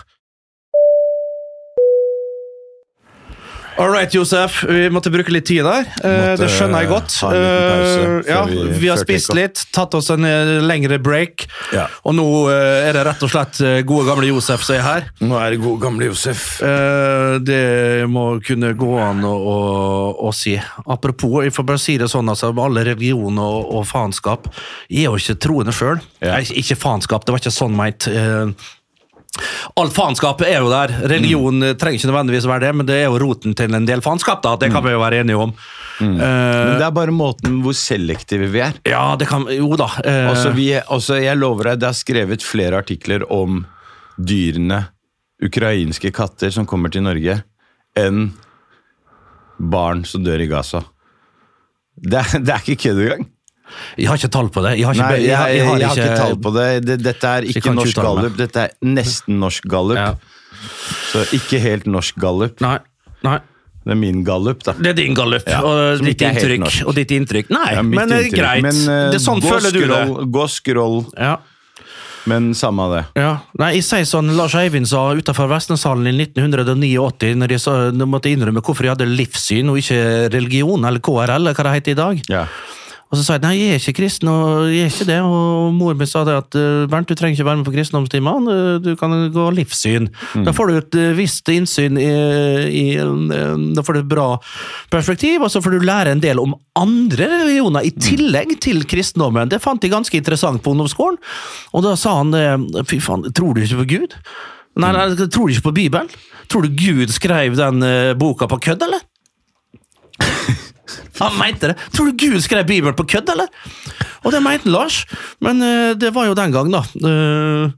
Speaker 3: All right, Josef. Vi måtte bruke litt tid der. Eh,
Speaker 2: Måtte,
Speaker 3: det skjønner jeg godt.
Speaker 2: ha en liten pause
Speaker 3: Eh, ja,
Speaker 2: før vi-
Speaker 3: vi har
Speaker 2: før
Speaker 3: spist
Speaker 2: takeoff.
Speaker 3: litt, tatt oss en eh, lengre break,
Speaker 2: Ja.
Speaker 3: og nå eh, er det rett og slett eh, gode gamle Josef som er her.
Speaker 2: Nå er det god gamle Josef.
Speaker 3: Eh, det må kunne gå an å, å, å si. Apropos, jeg får bare si det sånn, altså, med alle religioner og, og faenskap. Jeg er jo ikke troende sjøl.
Speaker 2: Ja.
Speaker 3: Ikke faenskap, det var ikke sånn meint. Eh, All faenskap er jo der. Religion
Speaker 2: Mm.
Speaker 3: eh, trenger ikke nødvendigvis være det, men det er jo roten til en del faenskap, da. Det
Speaker 2: Mm.
Speaker 3: kan vi jo være enige om. Eh,
Speaker 2: Men det er bare måten hvor selektive vi er.
Speaker 3: ja, det kan Jo da. eh,
Speaker 2: Altså, vi, altså, jeg lover deg, det er skrevet flere artikler om dyrene, ukrainske katter som kommer til Norge, enn barn som dør i Gaza. Det er, det er ikke kødd engang.
Speaker 3: jeg har ikke tall på det. Jeg har ikke,
Speaker 2: Nei, jeg,
Speaker 3: jeg,
Speaker 2: jeg,
Speaker 3: jeg har ikke,
Speaker 2: ikke tall på det. det. Dette er
Speaker 3: kan
Speaker 2: ikke
Speaker 3: ikke
Speaker 2: norsk
Speaker 3: uttale meg.
Speaker 2: gallup, dette er nesten norsk gallup.
Speaker 3: Ja.
Speaker 2: Så ikke helt norsk gallup.
Speaker 3: Nei. nei.
Speaker 2: Det er min gallup, da.
Speaker 3: Det er din gallup
Speaker 2: Ja,
Speaker 3: og,
Speaker 2: som
Speaker 3: ditt
Speaker 2: ikke er helt
Speaker 3: inntrykk,
Speaker 2: norsk.
Speaker 3: og ditt inntrykk. Nei,
Speaker 2: Det er mitt
Speaker 3: men det er
Speaker 2: inntrykk.
Speaker 3: greit.
Speaker 2: Men, eh,
Speaker 3: det er sånn
Speaker 2: gå
Speaker 3: føler du det.
Speaker 2: scroll- Gå scroll,
Speaker 3: Ja.
Speaker 2: men samme av det.
Speaker 3: Ja. Nei, jeg sier sånn Lars Eivind sa utenfor Vestneshallen i 1989, når jeg, sa, når jeg måtte innrømme hvorfor jeg hadde livssyn og ikke religion, eller KRL, eller hva det heter i dag.
Speaker 2: Ja.
Speaker 3: Og så sa jeg nei, jeg er ikke kristen, og jeg er ikke det. Og mor min sa det at eh, Bernt, du trenger ikke være med på kristendomstimene, eh, du kan gå livssyn. Da får du et eh, visst innsyn i, i en- en- Da får du et bra perspektiv, og så får du lære en del om andre religioner i tillegg til kristendommen. Det fant jeg ganske interessant på ungdomsskolen, og da sa han eh, fy faen, tror du ikke på Gud? Nei, nei, tror du ikke på Bibelen? Tror du Gud skrev den eh, boka på kødd, eller? Han mente det. Tror du Gud skrev Bibelen på kødd, eller? Og det mente Lars, men eh, det var jo den gang, da. Eh,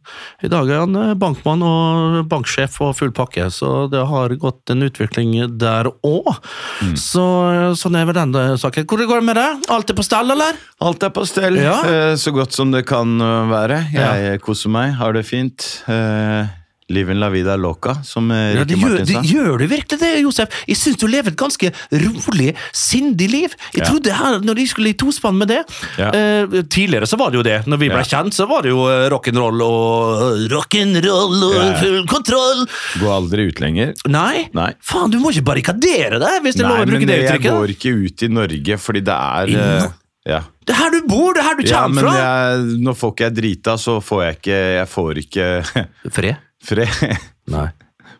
Speaker 3: I dag er han eh, bankmann og banksjef og full pakke, så det har gått en utvikling der òg. Så eh, sånn er vel den eh, saken. Hvordan går det med deg? Alt er på stell, eller?
Speaker 2: Alt er på stell,
Speaker 3: Ja.
Speaker 2: eh, så godt som det kan eh, være. Jeg eh, koser meg, har det fint. Eh, Liven la vida loca, som eh, Rikke
Speaker 3: Ja, det gjør,
Speaker 2: Martin
Speaker 3: det
Speaker 2: sa.
Speaker 3: gjør du virkelig det, Josef. Jeg syns du lever et ganske rolig, sindig liv. Jeg
Speaker 2: Ja.
Speaker 3: trodde her, når jeg skulle i tospann med det
Speaker 2: Ja.
Speaker 3: eh, Tidligere så var det jo det. Når vi ble
Speaker 2: Ja.
Speaker 3: kjent, så var det jo eh, rock'n'roll og eh, Rock'n'roll og
Speaker 2: Ja, ja.
Speaker 3: full kontroll!
Speaker 2: Gå aldri ut lenger.
Speaker 3: Nei.
Speaker 2: Nei.
Speaker 3: Faen, du må ikke barrikadere deg, hvis det er
Speaker 2: Nei,
Speaker 3: lov å bruke
Speaker 2: men
Speaker 3: det
Speaker 2: jeg
Speaker 3: uttrykket.
Speaker 2: går ikke ut i Norge, fordi det er
Speaker 3: I
Speaker 2: eh,
Speaker 3: Nor-
Speaker 2: ja.
Speaker 3: Det er her du bor, det er her du
Speaker 2: ja, men
Speaker 3: kommer fra!
Speaker 2: jeg, når folk er drita, så får jeg ikke Jeg får ikke
Speaker 3: Fred?
Speaker 2: fred.
Speaker 3: Nei.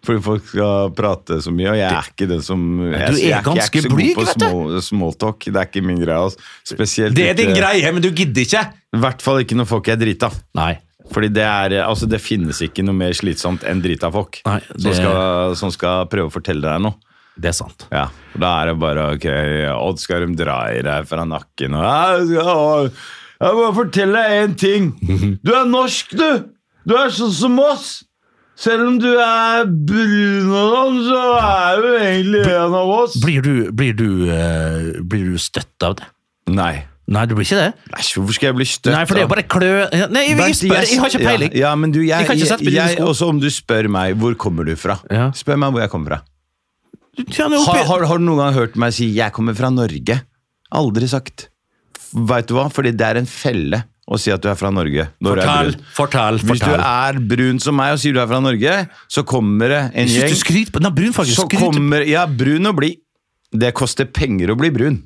Speaker 2: Fordi folk skal prate så mye, og jeg er ikke den som Jeg,
Speaker 3: du
Speaker 2: jeg
Speaker 3: er
Speaker 2: ikke- jeg
Speaker 3: ganske
Speaker 2: ikke så god
Speaker 3: blyg,
Speaker 2: på
Speaker 3: vet du.
Speaker 2: small- Smalltalk. Det er ikke min greie. altså. Spesielt
Speaker 3: Det er din
Speaker 2: ikke-
Speaker 3: greie, men du gidder ikke!
Speaker 2: I hvert fall ikke når folk er drita.
Speaker 3: Nei.
Speaker 2: Fordi det, er, altså det finnes ikke noe mer slitsomt enn drita folk
Speaker 3: Nei,
Speaker 2: som,
Speaker 3: det-
Speaker 2: skal, som skal prøve å fortelle deg noe.
Speaker 3: Det er sant.
Speaker 2: Ja, og Da er det bare ok, Odd skal de dra i deg fra nakken og «Ja, ja, å, Jeg må fortelle deg én ting. Du er norsk, du! Du er sånn som oss! Selv om du er brun og sånn, så er du egentlig en av oss.
Speaker 3: Blir du, blir du, eh, blir du støtt av det?
Speaker 2: Nei.
Speaker 3: Nei, du blir ikke det?
Speaker 2: Æsj, hvorfor skal jeg bli støtt?
Speaker 3: Nei, for det er jo
Speaker 2: av-
Speaker 3: bare klø Nei, jeg, jeg
Speaker 2: Bernt,
Speaker 3: spør, jeg har ikke peiling.
Speaker 2: Ja, ja, men du, jeg,
Speaker 3: Jeg kan ikke sette
Speaker 2: jeg,
Speaker 3: brune
Speaker 2: jeg,
Speaker 3: sko.
Speaker 2: Også om du spør meg hvor kommer du fra.
Speaker 3: Ja.
Speaker 2: Spør meg hvor jeg kommer fra.
Speaker 3: Du kjenner opp
Speaker 2: Har,
Speaker 3: i-
Speaker 2: har, har du noen gang hørt meg si 'jeg kommer fra Norge'? Aldri sagt. Veit du hva? Fordi det er en felle å si at du er fra Norge. Når
Speaker 3: Fortell,
Speaker 2: du er brun.
Speaker 3: fortell,
Speaker 2: Hvis du
Speaker 3: fortell.
Speaker 2: er brun som meg og sier du er fra Norge, så kommer det en
Speaker 3: Jeg synes du
Speaker 2: gjeng
Speaker 3: skryter på den brunfargen.
Speaker 2: så
Speaker 3: skryter-
Speaker 2: kommer, Ja, brun å bli. Det koster penger å bli brun.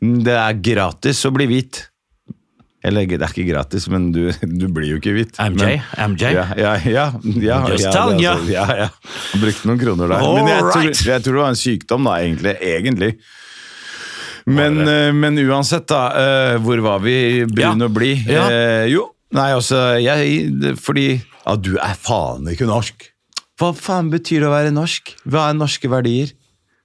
Speaker 2: Det er gratis å bli hvit. Eller det er ikke gratis, men du, du blir jo ikke hvit.
Speaker 3: MJ?
Speaker 2: Men,
Speaker 3: MJ?
Speaker 2: ja, ja, ja, ja,
Speaker 3: Just
Speaker 2: ja,
Speaker 3: telling
Speaker 2: det,
Speaker 3: ya.
Speaker 2: altså, ja, ja. Han Brukte noen kroner der. Men jeg tror,
Speaker 3: Alright.
Speaker 2: jeg tror det var en sykdom, da, egentlig. egentlig. Men, eh, men uansett, da. eh, Hvor var vi? Brun
Speaker 3: Ja.
Speaker 2: og blid?
Speaker 3: Ja.
Speaker 2: Eh, jo. Nei, altså jeg, det- Fordi Ja, du er faen ikke norsk. Hva faen betyr det å være norsk? Hva er norske verdier?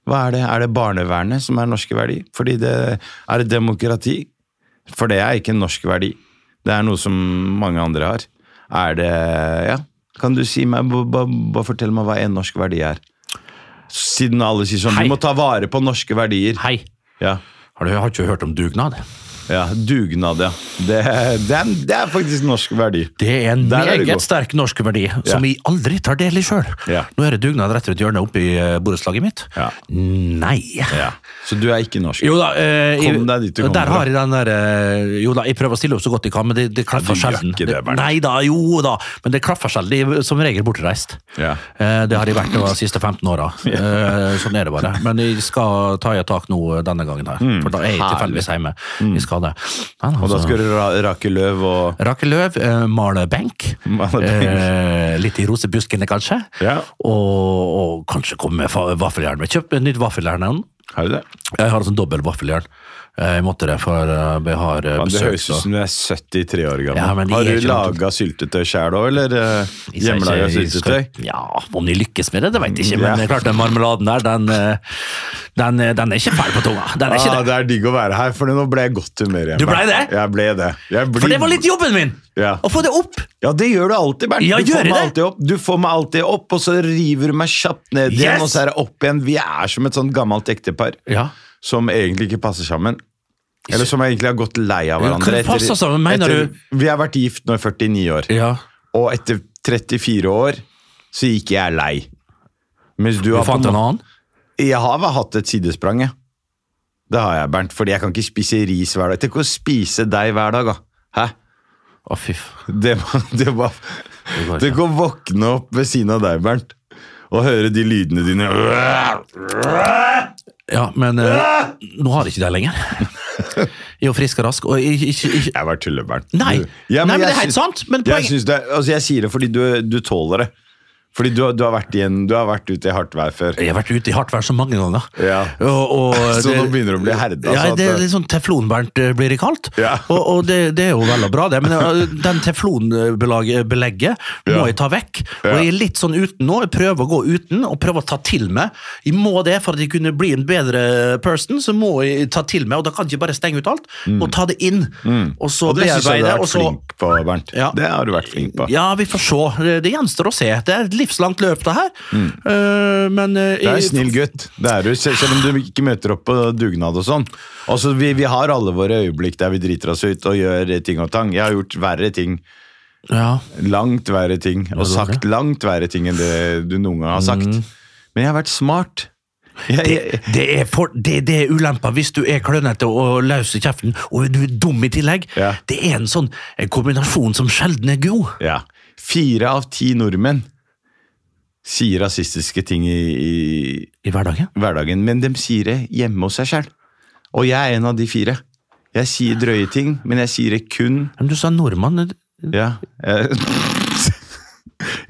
Speaker 2: Hva er det? Er det barnevernet som er norske verdier? Fordi det er det demokrati? For det er ikke en norsk verdi. Det er noe som mange andre har. Er det Ja, kan du si meg b- b- Bare fortell meg hva en norsk verdi er. Siden alle sier sånn
Speaker 3: Hei.
Speaker 2: Du må ta vare på norske verdier.
Speaker 3: Hei,
Speaker 2: Ja.
Speaker 3: har du har ikke hørt om dugnad?
Speaker 2: Ja, Dugnad, ja. Det, det, er, det er faktisk norsk verdi.
Speaker 3: Det er en
Speaker 2: Der er det god.
Speaker 3: meget sterk norsk verdi, som vi aldri tar del i sjøl.
Speaker 2: Ja.
Speaker 3: Nå er det dugnad rett rundt hjørnet oppe i eh, borettslaget mitt.
Speaker 2: Ja.
Speaker 3: Nei!
Speaker 2: Ja. Så du er ikke norsk?
Speaker 3: Jo da, eh,
Speaker 2: Kom deg dit du kommer
Speaker 3: der
Speaker 2: fra.
Speaker 3: har jeg den der eh, Jo da, jeg prøver å stille opp så godt jeg kan, men det, det klaffer
Speaker 2: Ja, du gjør
Speaker 3: sjelden.
Speaker 2: ikke det, Bernt.
Speaker 3: Nei da, jo da, men det klaffer sjelden. Jeg er som regel bortreist.
Speaker 2: Ja.
Speaker 3: Eh, det har jeg vært nå de siste 15 åra. Eh, sånn er det bare. Men jeg skal ta i et tak nå eh, denne gangen her, for da er jeg tilfeldigvis hjemme. Jeg skal det. Nei,
Speaker 2: Mm. Og da
Speaker 3: altså,
Speaker 2: skal du ra rake løv og
Speaker 3: Rake løv, eh, male benk.
Speaker 2: Male benk.
Speaker 3: Eh, litt i rosebuskene, kanskje.
Speaker 2: Ja.
Speaker 3: Og, og kanskje komme med fa- vaffeljern. Men Kjøp et nytt vaffeljern. Jan.
Speaker 2: Har du det?
Speaker 3: Jeg har en sånn dobbel vaffeljern. Eh, Jeg måtte det, for eh, vi har eh,
Speaker 2: Man, det
Speaker 3: besøk.
Speaker 2: høres ut
Speaker 3: så-
Speaker 2: som du er 73 år gammel.
Speaker 3: Ja, men de
Speaker 2: har
Speaker 3: er
Speaker 2: du
Speaker 3: ikke noe-
Speaker 2: laga syltetøy sjæl òg, eller uh,
Speaker 3: Jeg sier ikke-
Speaker 2: hjemmelaga
Speaker 3: jeg skal-
Speaker 2: syltetøy?
Speaker 3: Ja, om de lykkes med det, det vet jeg ikke. Men
Speaker 2: Ja.
Speaker 3: det er klart den marmeladen der, den, eh, den, eh, den er ikke fæl på tunga. Den er ikke
Speaker 2: Ah,
Speaker 3: det.
Speaker 2: det er digg å være her, for nå ble jeg godt humør igjen.
Speaker 3: Du ble
Speaker 2: Bernt.
Speaker 3: det?
Speaker 2: Jeg ble det. Jeg blir-
Speaker 3: For det var litt jobben min!
Speaker 2: Ja.
Speaker 3: Å få det opp!
Speaker 2: Ja, det gjør du alltid, Bernt.
Speaker 3: Ja,
Speaker 2: du,
Speaker 3: gjør
Speaker 2: får
Speaker 3: jeg
Speaker 2: meg
Speaker 3: det?
Speaker 2: alltid opp. du får meg alltid opp, og så river du meg kjapt ned igjen,
Speaker 3: Yes!
Speaker 2: og så er det opp igjen. Vi er som et sånt gammelt ektepar
Speaker 3: Ja.
Speaker 2: som egentlig ikke passer sammen. Eller som egentlig har gått lei av
Speaker 3: Ja,
Speaker 2: hverandre.
Speaker 3: hva passer sammen, mener du?
Speaker 2: Vi har vært gift nå i 49 år,
Speaker 3: ja.
Speaker 2: og etter 34 år så gikk jeg lei. Mens du,
Speaker 3: Du
Speaker 2: har på
Speaker 3: fant
Speaker 2: en
Speaker 3: en
Speaker 2: måte-
Speaker 3: annen?
Speaker 2: Jeg har vel hatt et sidesprang, jeg. Det har jeg, Bernt. Fordi jeg kan ikke spise ris hver dag. Tenk å spise deg hver dag, da. Hæ?
Speaker 3: Å, fy f-
Speaker 2: Det var, det var
Speaker 3: går ikke.
Speaker 2: Tenk å våkne opp ved siden av deg, Bernt, og høre de lydene dine.
Speaker 3: Ja, men eh, nå har jeg ikke det lenger. Jeg er jo frisk og rask, og jeg, jeg, jeg,
Speaker 2: Jeg var tulle, Bernt.
Speaker 3: Nei.
Speaker 2: Du-
Speaker 3: Nei, men
Speaker 2: jeg
Speaker 3: det er helt
Speaker 2: syns-
Speaker 3: sant, men
Speaker 2: jeg,
Speaker 3: poenget-
Speaker 2: syns det, altså jeg sier det fordi du, du tåler det. Fordi du, har- du, har vært i en, du har vært ute i hardt vær før.
Speaker 3: jeg har vært ute i hardt vær så mange ganger.
Speaker 2: Ja.
Speaker 3: Og, og,
Speaker 2: Så nå begynner det å bli herda, så
Speaker 3: Ja,
Speaker 2: at
Speaker 3: det er
Speaker 2: det-
Speaker 3: litt sånn teflonbernt eh, blir det kalt.
Speaker 2: Ja.
Speaker 3: Og, og det, det er jo vel og bra, det. Men eh, den teflonbelegget må
Speaker 2: Ja.
Speaker 3: jeg ta vekk. Og
Speaker 2: Ja.
Speaker 3: jeg er litt sånn uten nå. Jeg prøver å gå uten, og prøver å ta til meg. Jeg må det for at jeg kunne bli en bedre person, så må jeg ta til meg. Og da kan jeg ikke bare stenge ut alt, og ta det inn. Og
Speaker 2: Mm.
Speaker 3: så
Speaker 2: Og det syns jeg du har
Speaker 3: bearbeide, og
Speaker 2: vært
Speaker 3: så
Speaker 2: flink på, Bernt.
Speaker 3: Ja.
Speaker 2: Det har du vært flink på.
Speaker 3: ja, vi får se. Det- Det gjenstår å se. Det er et livslangt løp, det her. Eh, men eh,
Speaker 2: Du Mm. er en
Speaker 3: jeg-
Speaker 2: snill gutt, det er du, selv selv om du ikke møter opp på dugnad og sånn. Altså, vi, vi har alle våre øyeblikk der vi driter oss ut og gjør ting og tang. Jeg har gjort verre ting,
Speaker 3: Ja.
Speaker 2: langt verre ting, og
Speaker 3: du Mm.
Speaker 2: sagt langt verre ting enn det du noen gang har sagt. Men jeg har vært smart. Jeg,
Speaker 3: Det,
Speaker 2: jeg,
Speaker 3: det, er for, det, det er ulempa hvis du er klønete og løs i kjeften, og du er dum i tillegg.
Speaker 2: Ja.
Speaker 3: Det er en sånn en kombinasjon som sjelden er god.
Speaker 2: ja. Fire av ti nordmenn sier rasistiske ting i, i
Speaker 3: I hverdagen.
Speaker 2: hverdagen, men de sier det hjemme hos seg selv. Og jeg er en av de fire. Jeg sier drøye ting, men jeg sier det kun
Speaker 3: Men du sa nordmann.
Speaker 2: Ja. eh,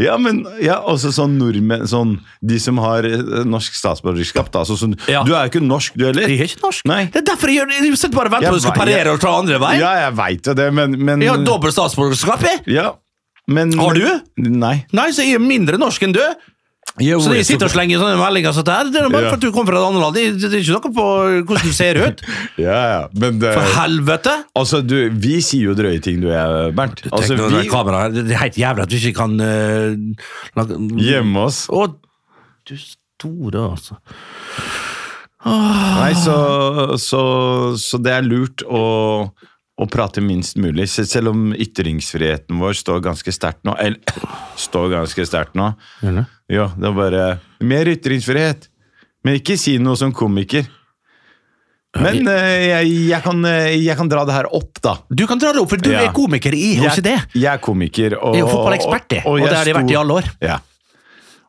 Speaker 2: Ja, men ja, også sånn nordmenn sånn, De som har eh, norsk statsborgerskap. Da, så, sånn,
Speaker 3: Ja.
Speaker 2: Du er jo ikke norsk, du heller.
Speaker 3: Jeg er ikke norsk.
Speaker 2: Nei.
Speaker 3: Det er derfor jeg, gjør- jeg sitter bare og venter
Speaker 2: Jeg
Speaker 3: på at du skal
Speaker 2: vei-
Speaker 3: parere og ta andre vei.
Speaker 2: Ja, jeg veit jo det, men, men
Speaker 3: Jeg har dobbelt statsborgerskap, jeg.
Speaker 2: Ja, men
Speaker 3: Har du?
Speaker 2: Nei.
Speaker 3: Nei, så jeg er mindre norsk enn du.
Speaker 2: Jo,
Speaker 3: Så de
Speaker 2: Oh, jeg
Speaker 3: sitter og slenger sånne meldinger og sånt her. Det er bare
Speaker 2: Ja.
Speaker 3: for at du kommer fra et annet land. Det, det er ikke noe på hvordan du ser ut.
Speaker 2: Ja, ja, men det,
Speaker 3: For helvete!
Speaker 2: Altså, du, vi sier jo drøye ting, du og jeg, Bernt. Altså,
Speaker 3: Tenk nå, det,
Speaker 2: vi
Speaker 3: kameraet, det er helt jævlig at vi ikke kan eh, lage,
Speaker 2: Hjemme oss.
Speaker 3: Å, du store, altså.
Speaker 2: Nei, så, så, så det er lurt å, å prate minst mulig. Sel- Selv om ytringsfriheten vår står ganske sterkt nå. Eller står ganske sterkt nå.
Speaker 3: Gjør det?
Speaker 2: Ja, det er bare Mer ytringsfrihet! Men ikke si noe som komiker. Men eh, jeg, jeg, kan, eh, jeg kan dra det her opp, da.
Speaker 3: Du kan dra det opp, for du
Speaker 2: Ja.
Speaker 3: er komiker i OCD.
Speaker 2: Jeg, jeg er komiker. Og,
Speaker 3: Jeg er jo fotballekspert, jeg. Og det har de vært i alle år.
Speaker 2: Ja.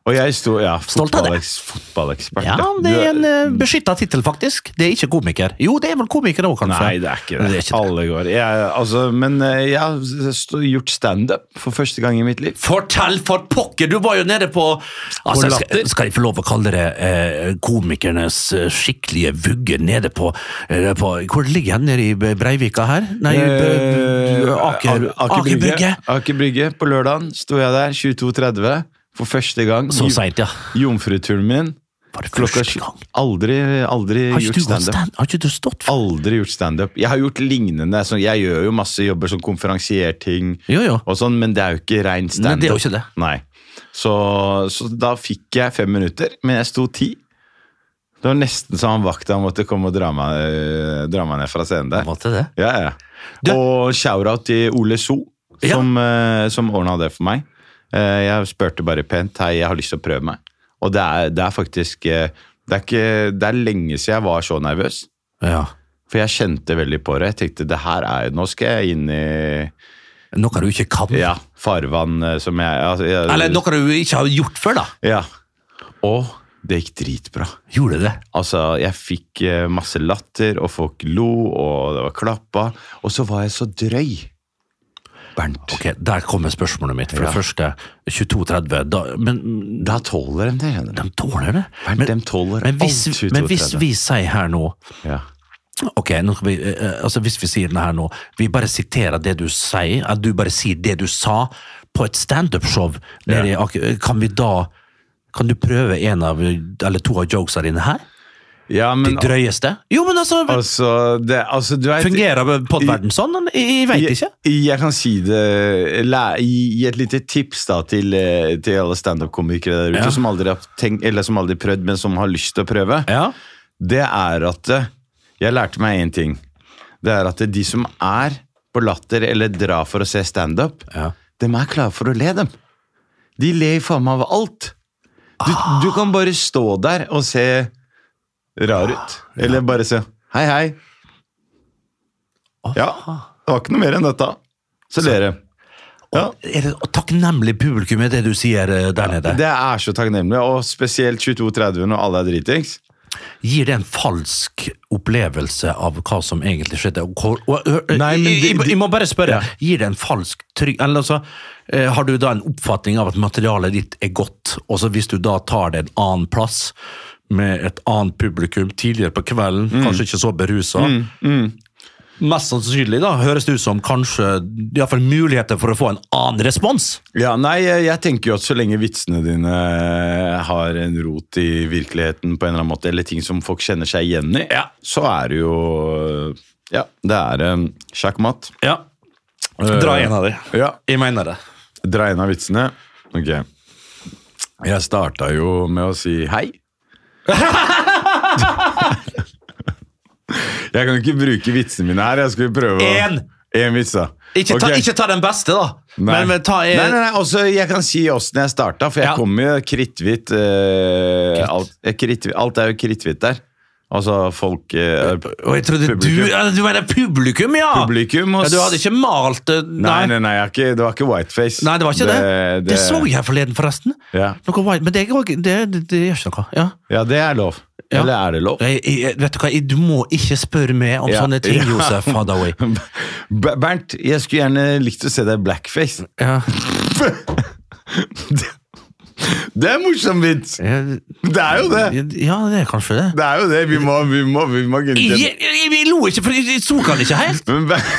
Speaker 2: Og jeg sto Ja,
Speaker 3: Stolt av det.
Speaker 2: fotballeks, fotballekspert.
Speaker 3: Ja,
Speaker 2: ja. Du
Speaker 3: det er en uh, beskytta tittel, faktisk. Det er ikke komiker. Jo, det er vel komiker òg, kanskje.
Speaker 2: Nei, det er ikke det.
Speaker 3: Det er ikke det.
Speaker 2: Alle går. Jeg, altså, men eh, jeg har st- gjort standup for første gang i mitt liv.
Speaker 3: Fortell for pokker! Du var jo nede på altså,
Speaker 2: Latter.
Speaker 3: skal, skal jeg få lov å kalle det eh, komikernes eh, skikkelige vugge nede på, eh, på Hvor ligger den nede i Bre- Breivika her? Nei,
Speaker 2: Eh,
Speaker 3: eh, Aker,
Speaker 2: A- Aker
Speaker 3: Aker Brygge.
Speaker 2: Aker Brygge. På lørdagen sto jeg der 22.30 for første gang.
Speaker 3: Så
Speaker 2: Jo-
Speaker 3: seint, ja.
Speaker 2: Jomfruturen min.
Speaker 3: Var det
Speaker 2: Klokka
Speaker 3: første
Speaker 2: sju-
Speaker 3: gang?
Speaker 2: Aldri, aldri
Speaker 3: Har ikke
Speaker 2: gjort
Speaker 3: du, gått
Speaker 2: standup.
Speaker 3: stand, har ikke du stått for
Speaker 2: Aldri gjort standup. Jeg har gjort lignende. Sånn, jeg gjør jo masse jobber som konferansierting,
Speaker 3: Jo, jo.
Speaker 2: og sånn, men det er jo ikke rein
Speaker 3: Nei,
Speaker 2: standup.
Speaker 3: det er jo ikke det.
Speaker 2: Nei. Så, så da fikk jeg fem minutter, men jeg sto ti. Det var nesten så han vakta måtte komme og dra meg, eh, dra meg ned fra scenen der.
Speaker 3: Måtte det.
Speaker 2: Ja, ja.
Speaker 3: Du-
Speaker 2: Og shout-out til Ole So,
Speaker 3: Ja.
Speaker 2: som, ja. som ordna det for meg. Eh, Jeg spurte bare pent hei, jeg har lyst til å prøve meg. Og det er, det er faktisk eh, det er, ikke, det er lenge siden jeg var så nervøs.
Speaker 3: Ja.
Speaker 2: For jeg kjente veldig på det. Jeg tenkte det her er Nå skal jeg inn i
Speaker 3: Noe du ikke kan.
Speaker 2: ja, farvann eh, som jeg, altså, jeg
Speaker 3: Eller noe du ikke har gjort før, da.
Speaker 2: Ja. Og det gikk dritbra.
Speaker 3: Gjorde det.
Speaker 2: Altså, jeg fikk eh, masse latter, og folk lo, og det var klappa. Og så var jeg så drøy. Bernt.
Speaker 3: Ok, Der kommer spørsmålet mitt. For
Speaker 2: Ja.
Speaker 3: det første, 22.30 da, Men
Speaker 2: Da tåler de det. skjønner du.
Speaker 3: de tåler det.
Speaker 2: Bernt,
Speaker 3: Men,
Speaker 2: de tåler
Speaker 3: men, hvis,
Speaker 2: alt 22.30.
Speaker 3: men hvis vi sier her nå
Speaker 2: ja.
Speaker 3: Ok, nå skal vi, eh, altså hvis vi sier det her nå Vi bare siterer det du sier, at du bare sier det du sa på et standup-show. nede i Aker- Kan vi da Kan du prøve en av, eller to av jokesa dine her?
Speaker 2: ja,
Speaker 3: De
Speaker 2: men
Speaker 3: drøyeste? Jo, men altså
Speaker 2: altså, det, altså du vet,
Speaker 3: Fungerer podverden sånn? Jeg, jeg veit ikke.
Speaker 2: Jeg, jeg kan si det læ- Gi et lite tips da til, eh, til alle standup-komikere der ute
Speaker 3: Ja.
Speaker 2: som aldri har tenkt, eller som aldri prøvd, men som har lyst til å prøve.
Speaker 3: Ja.
Speaker 2: Det er at eh, Jeg lærte meg én ting. Det er at de som er på latter eller drar for å se standup,
Speaker 3: Ja.
Speaker 2: de er klare for å le, dem. De ler faen meg av alt. Du, du kan bare stå der og se rar ut. Eller bare se Hei, hei.
Speaker 3: Å,
Speaker 2: Ja,
Speaker 3: faen.
Speaker 2: det var ikke noe mer enn dette. Så ler de. Ja.
Speaker 3: Er det takknemlig publikum er det du sier eh, der nede?
Speaker 2: Det er så takknemlig, og spesielt 22.30 når alle er dritings.
Speaker 3: Gir det en falsk opplevelse av hva som egentlig skjedde? Og, hvor- og, og,
Speaker 2: Nei, men
Speaker 3: jeg,
Speaker 2: det-
Speaker 3: jeg, jeg må bare spørre.
Speaker 2: Ja.
Speaker 3: Gir det en falsk trygg... Eller altså, eh, har du da en oppfatning av at materialet ditt er godt, og så hvis du da tar det en annen plass, med et annet publikum tidligere på kvelden,
Speaker 2: Mm.
Speaker 3: kanskje ikke så berusa Mest sannsynlig da, høres det ut som kanskje i hvert fall muligheter for å få en annen respons.
Speaker 2: Ja, nei, jeg jeg tenker jo at så lenge vitsene dine eh, har en rot i virkeligheten på en eller annen måte, eller ting som folk kjenner seg igjen i, ja, så er det jo Ja, det er um, sjakkmatt.
Speaker 3: Ja. Dra en av dem.
Speaker 2: Ja,
Speaker 3: Jeg mener det.
Speaker 2: dra inn av vitsene. Ok. Jeg starta jo med å si hei. jeg kan ikke bruke vitsene mine her. Jeg skulle prøve å
Speaker 3: En.
Speaker 2: En vits, da.
Speaker 3: Ikke, ta,
Speaker 2: Ok.
Speaker 3: ikke ta den beste, da.
Speaker 2: Nei.
Speaker 3: Men, men ta en
Speaker 2: nei, nei, nei. Også, jeg kan si åssen jeg starta, for jeg
Speaker 3: Ja.
Speaker 2: kom jo kritthvitt eh, alt, eh, kritthvitt- alt er jo kritthvitt der. Altså folk eh,
Speaker 3: Og jeg trodde
Speaker 2: Publikum.
Speaker 3: du ja, Du mener publikum, ja!
Speaker 2: Publikum og
Speaker 3: ja! Du hadde ikke malt det
Speaker 2: Nei,
Speaker 3: Nei,
Speaker 2: nei, nei, jeg har ikke, det var ikke whiteface.
Speaker 3: Nei, det var ikke det. Det,
Speaker 2: det
Speaker 3: så jeg forleden, forresten.
Speaker 2: Ja.
Speaker 3: Noe white, men det, er ikke- det, det, det gjør ikke noe. Ja.
Speaker 2: Ja, det er lov.
Speaker 3: Ja.
Speaker 2: Eller er det lov?
Speaker 3: Jeg, jeg, vet du hva, jeg, du må ikke spørre meg om
Speaker 2: Ja.
Speaker 3: sånne ting,
Speaker 2: Ja.
Speaker 3: Josef Hadaoui.
Speaker 2: Ber- Bernt, jeg skulle gjerne likt å se deg i blackface.
Speaker 3: Ja.
Speaker 2: Det er en morsom vits!
Speaker 3: Jeg-
Speaker 2: Det er jo det!
Speaker 3: Ja, det er kanskje det.
Speaker 2: Det er jo det. Vi må, vi må, vi må kunne
Speaker 3: Jeg, jeg, jeg, jeg lo ikke, for jeg, jeg tok han ikke helt.
Speaker 2: Men Ber-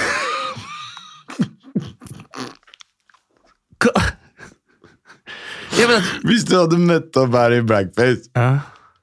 Speaker 3: Hva? Jeg mener,
Speaker 2: Hvis du hadde møtt opp her i blackface
Speaker 3: ja.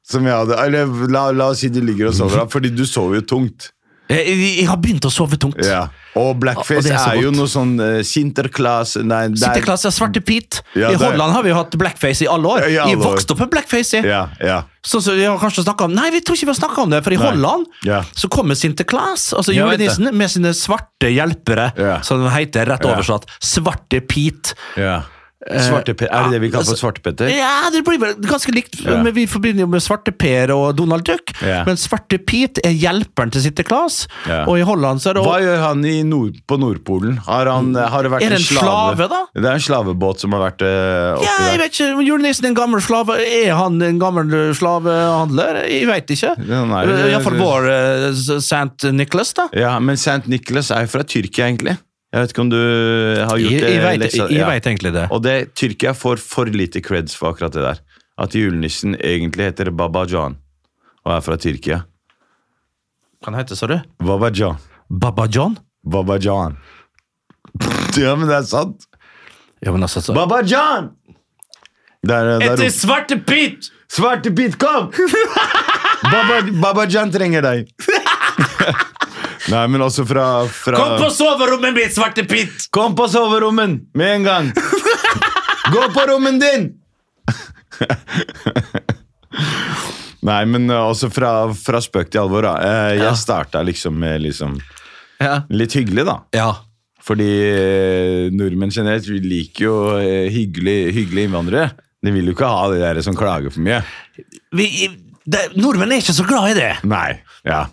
Speaker 2: som jeg hadde Eller la, la oss si du ligger og sover, da, fordi du sover jo tungt.
Speaker 3: jeg, jeg, jeg har begynt å sove tungt.
Speaker 2: Og
Speaker 3: Og
Speaker 2: blackface
Speaker 3: det er
Speaker 2: er,
Speaker 3: så
Speaker 2: jo
Speaker 3: godt.
Speaker 2: noe sånn uh, Sinterklass Nei, det er-
Speaker 3: Sitteklasse, svarte pit.
Speaker 2: Ja, det
Speaker 3: I
Speaker 2: er-
Speaker 3: Holland har vi jo hatt blackface i alle år.
Speaker 2: Ja, i alle
Speaker 3: jeg
Speaker 2: år.
Speaker 3: vokste opp med blackface. jeg.
Speaker 2: Ja, ja.
Speaker 3: Så, så jeg har kanskje snakket om Nei, vi tror ikke vi har snakka om det, for i Holland
Speaker 2: Ja.
Speaker 3: så kommer Sinterklaas, altså
Speaker 2: Jeg vet det.
Speaker 3: julenissen, med sine svarte hjelpere,
Speaker 2: Ja.
Speaker 3: som det heter rett oversatt. Svarte pit.
Speaker 2: ja. Svartepe- er det det vi kaller
Speaker 3: altså-
Speaker 2: for svartepetter?
Speaker 3: Ja, det blir vel ganske likt,
Speaker 2: Ja.
Speaker 3: men vi forbinder jo med Svarte Per og Donald Duck.
Speaker 2: Ja.
Speaker 3: Men Svarte Pete er hjelperen til Sitte Claes,
Speaker 2: Ja.
Speaker 3: og i Holland så er det
Speaker 2: Hva
Speaker 3: også
Speaker 2: gjør han i nord, på Nordpolen? Har, han, eh, har det vært
Speaker 3: Er det en slave, da?
Speaker 2: Det er en slavebåt som har vært eh, oppi
Speaker 3: ja, jeg
Speaker 2: der.
Speaker 3: vet ikke, Julenissen er en gammel slave. Er han en gammel slavehandler? Jeg vet ikke.
Speaker 2: Ja, nei, det-
Speaker 3: Iallfall vår eh, St. Nicholas, da.
Speaker 2: Ja, men St. Nicholas er jo fra Tyrkia, egentlig. Jeg vet ikke om du har gjort
Speaker 3: Jeg,
Speaker 2: det?
Speaker 3: jeg, vet,
Speaker 2: leksa-
Speaker 3: jeg, jeg
Speaker 2: ja.
Speaker 3: vet egentlig det.
Speaker 2: Og det, Tyrkia får for lite creds for akkurat det der. At julenissen egentlig heter Babajan og er fra Tyrkia.
Speaker 3: Hva heter det, sa du?
Speaker 2: Babajan.
Speaker 3: Baba John?
Speaker 2: Babajan. Ja, men det er sant!
Speaker 3: Ja, men altså, så-
Speaker 2: Babajan! Der, eh, der,
Speaker 3: Etter
Speaker 2: der,
Speaker 3: Svarte Pete!
Speaker 2: Svarte bit, kom! Baba, Baba Jan trenger deg. Nei, men også fra, fra
Speaker 3: Kom på soverommet mitt, Svarte Pete!
Speaker 2: Kom på soverommet med en gang! Gå på rommet din! Nei, men uh, også fra, fra spøk til alvor. Da. Eh,
Speaker 3: Ja.
Speaker 2: Jeg starta liksom med liksom
Speaker 3: Ja.
Speaker 2: litt hyggelig, da.
Speaker 3: ja.
Speaker 2: Fordi eh, nordmenn generelt vi liker jo eh, hyggelige hyggelig innvandrere. De vil jo ikke ha de der som klager for mye.
Speaker 3: Vi, i- det, nordmenn er ikke så glad i det.
Speaker 2: Nei, ja.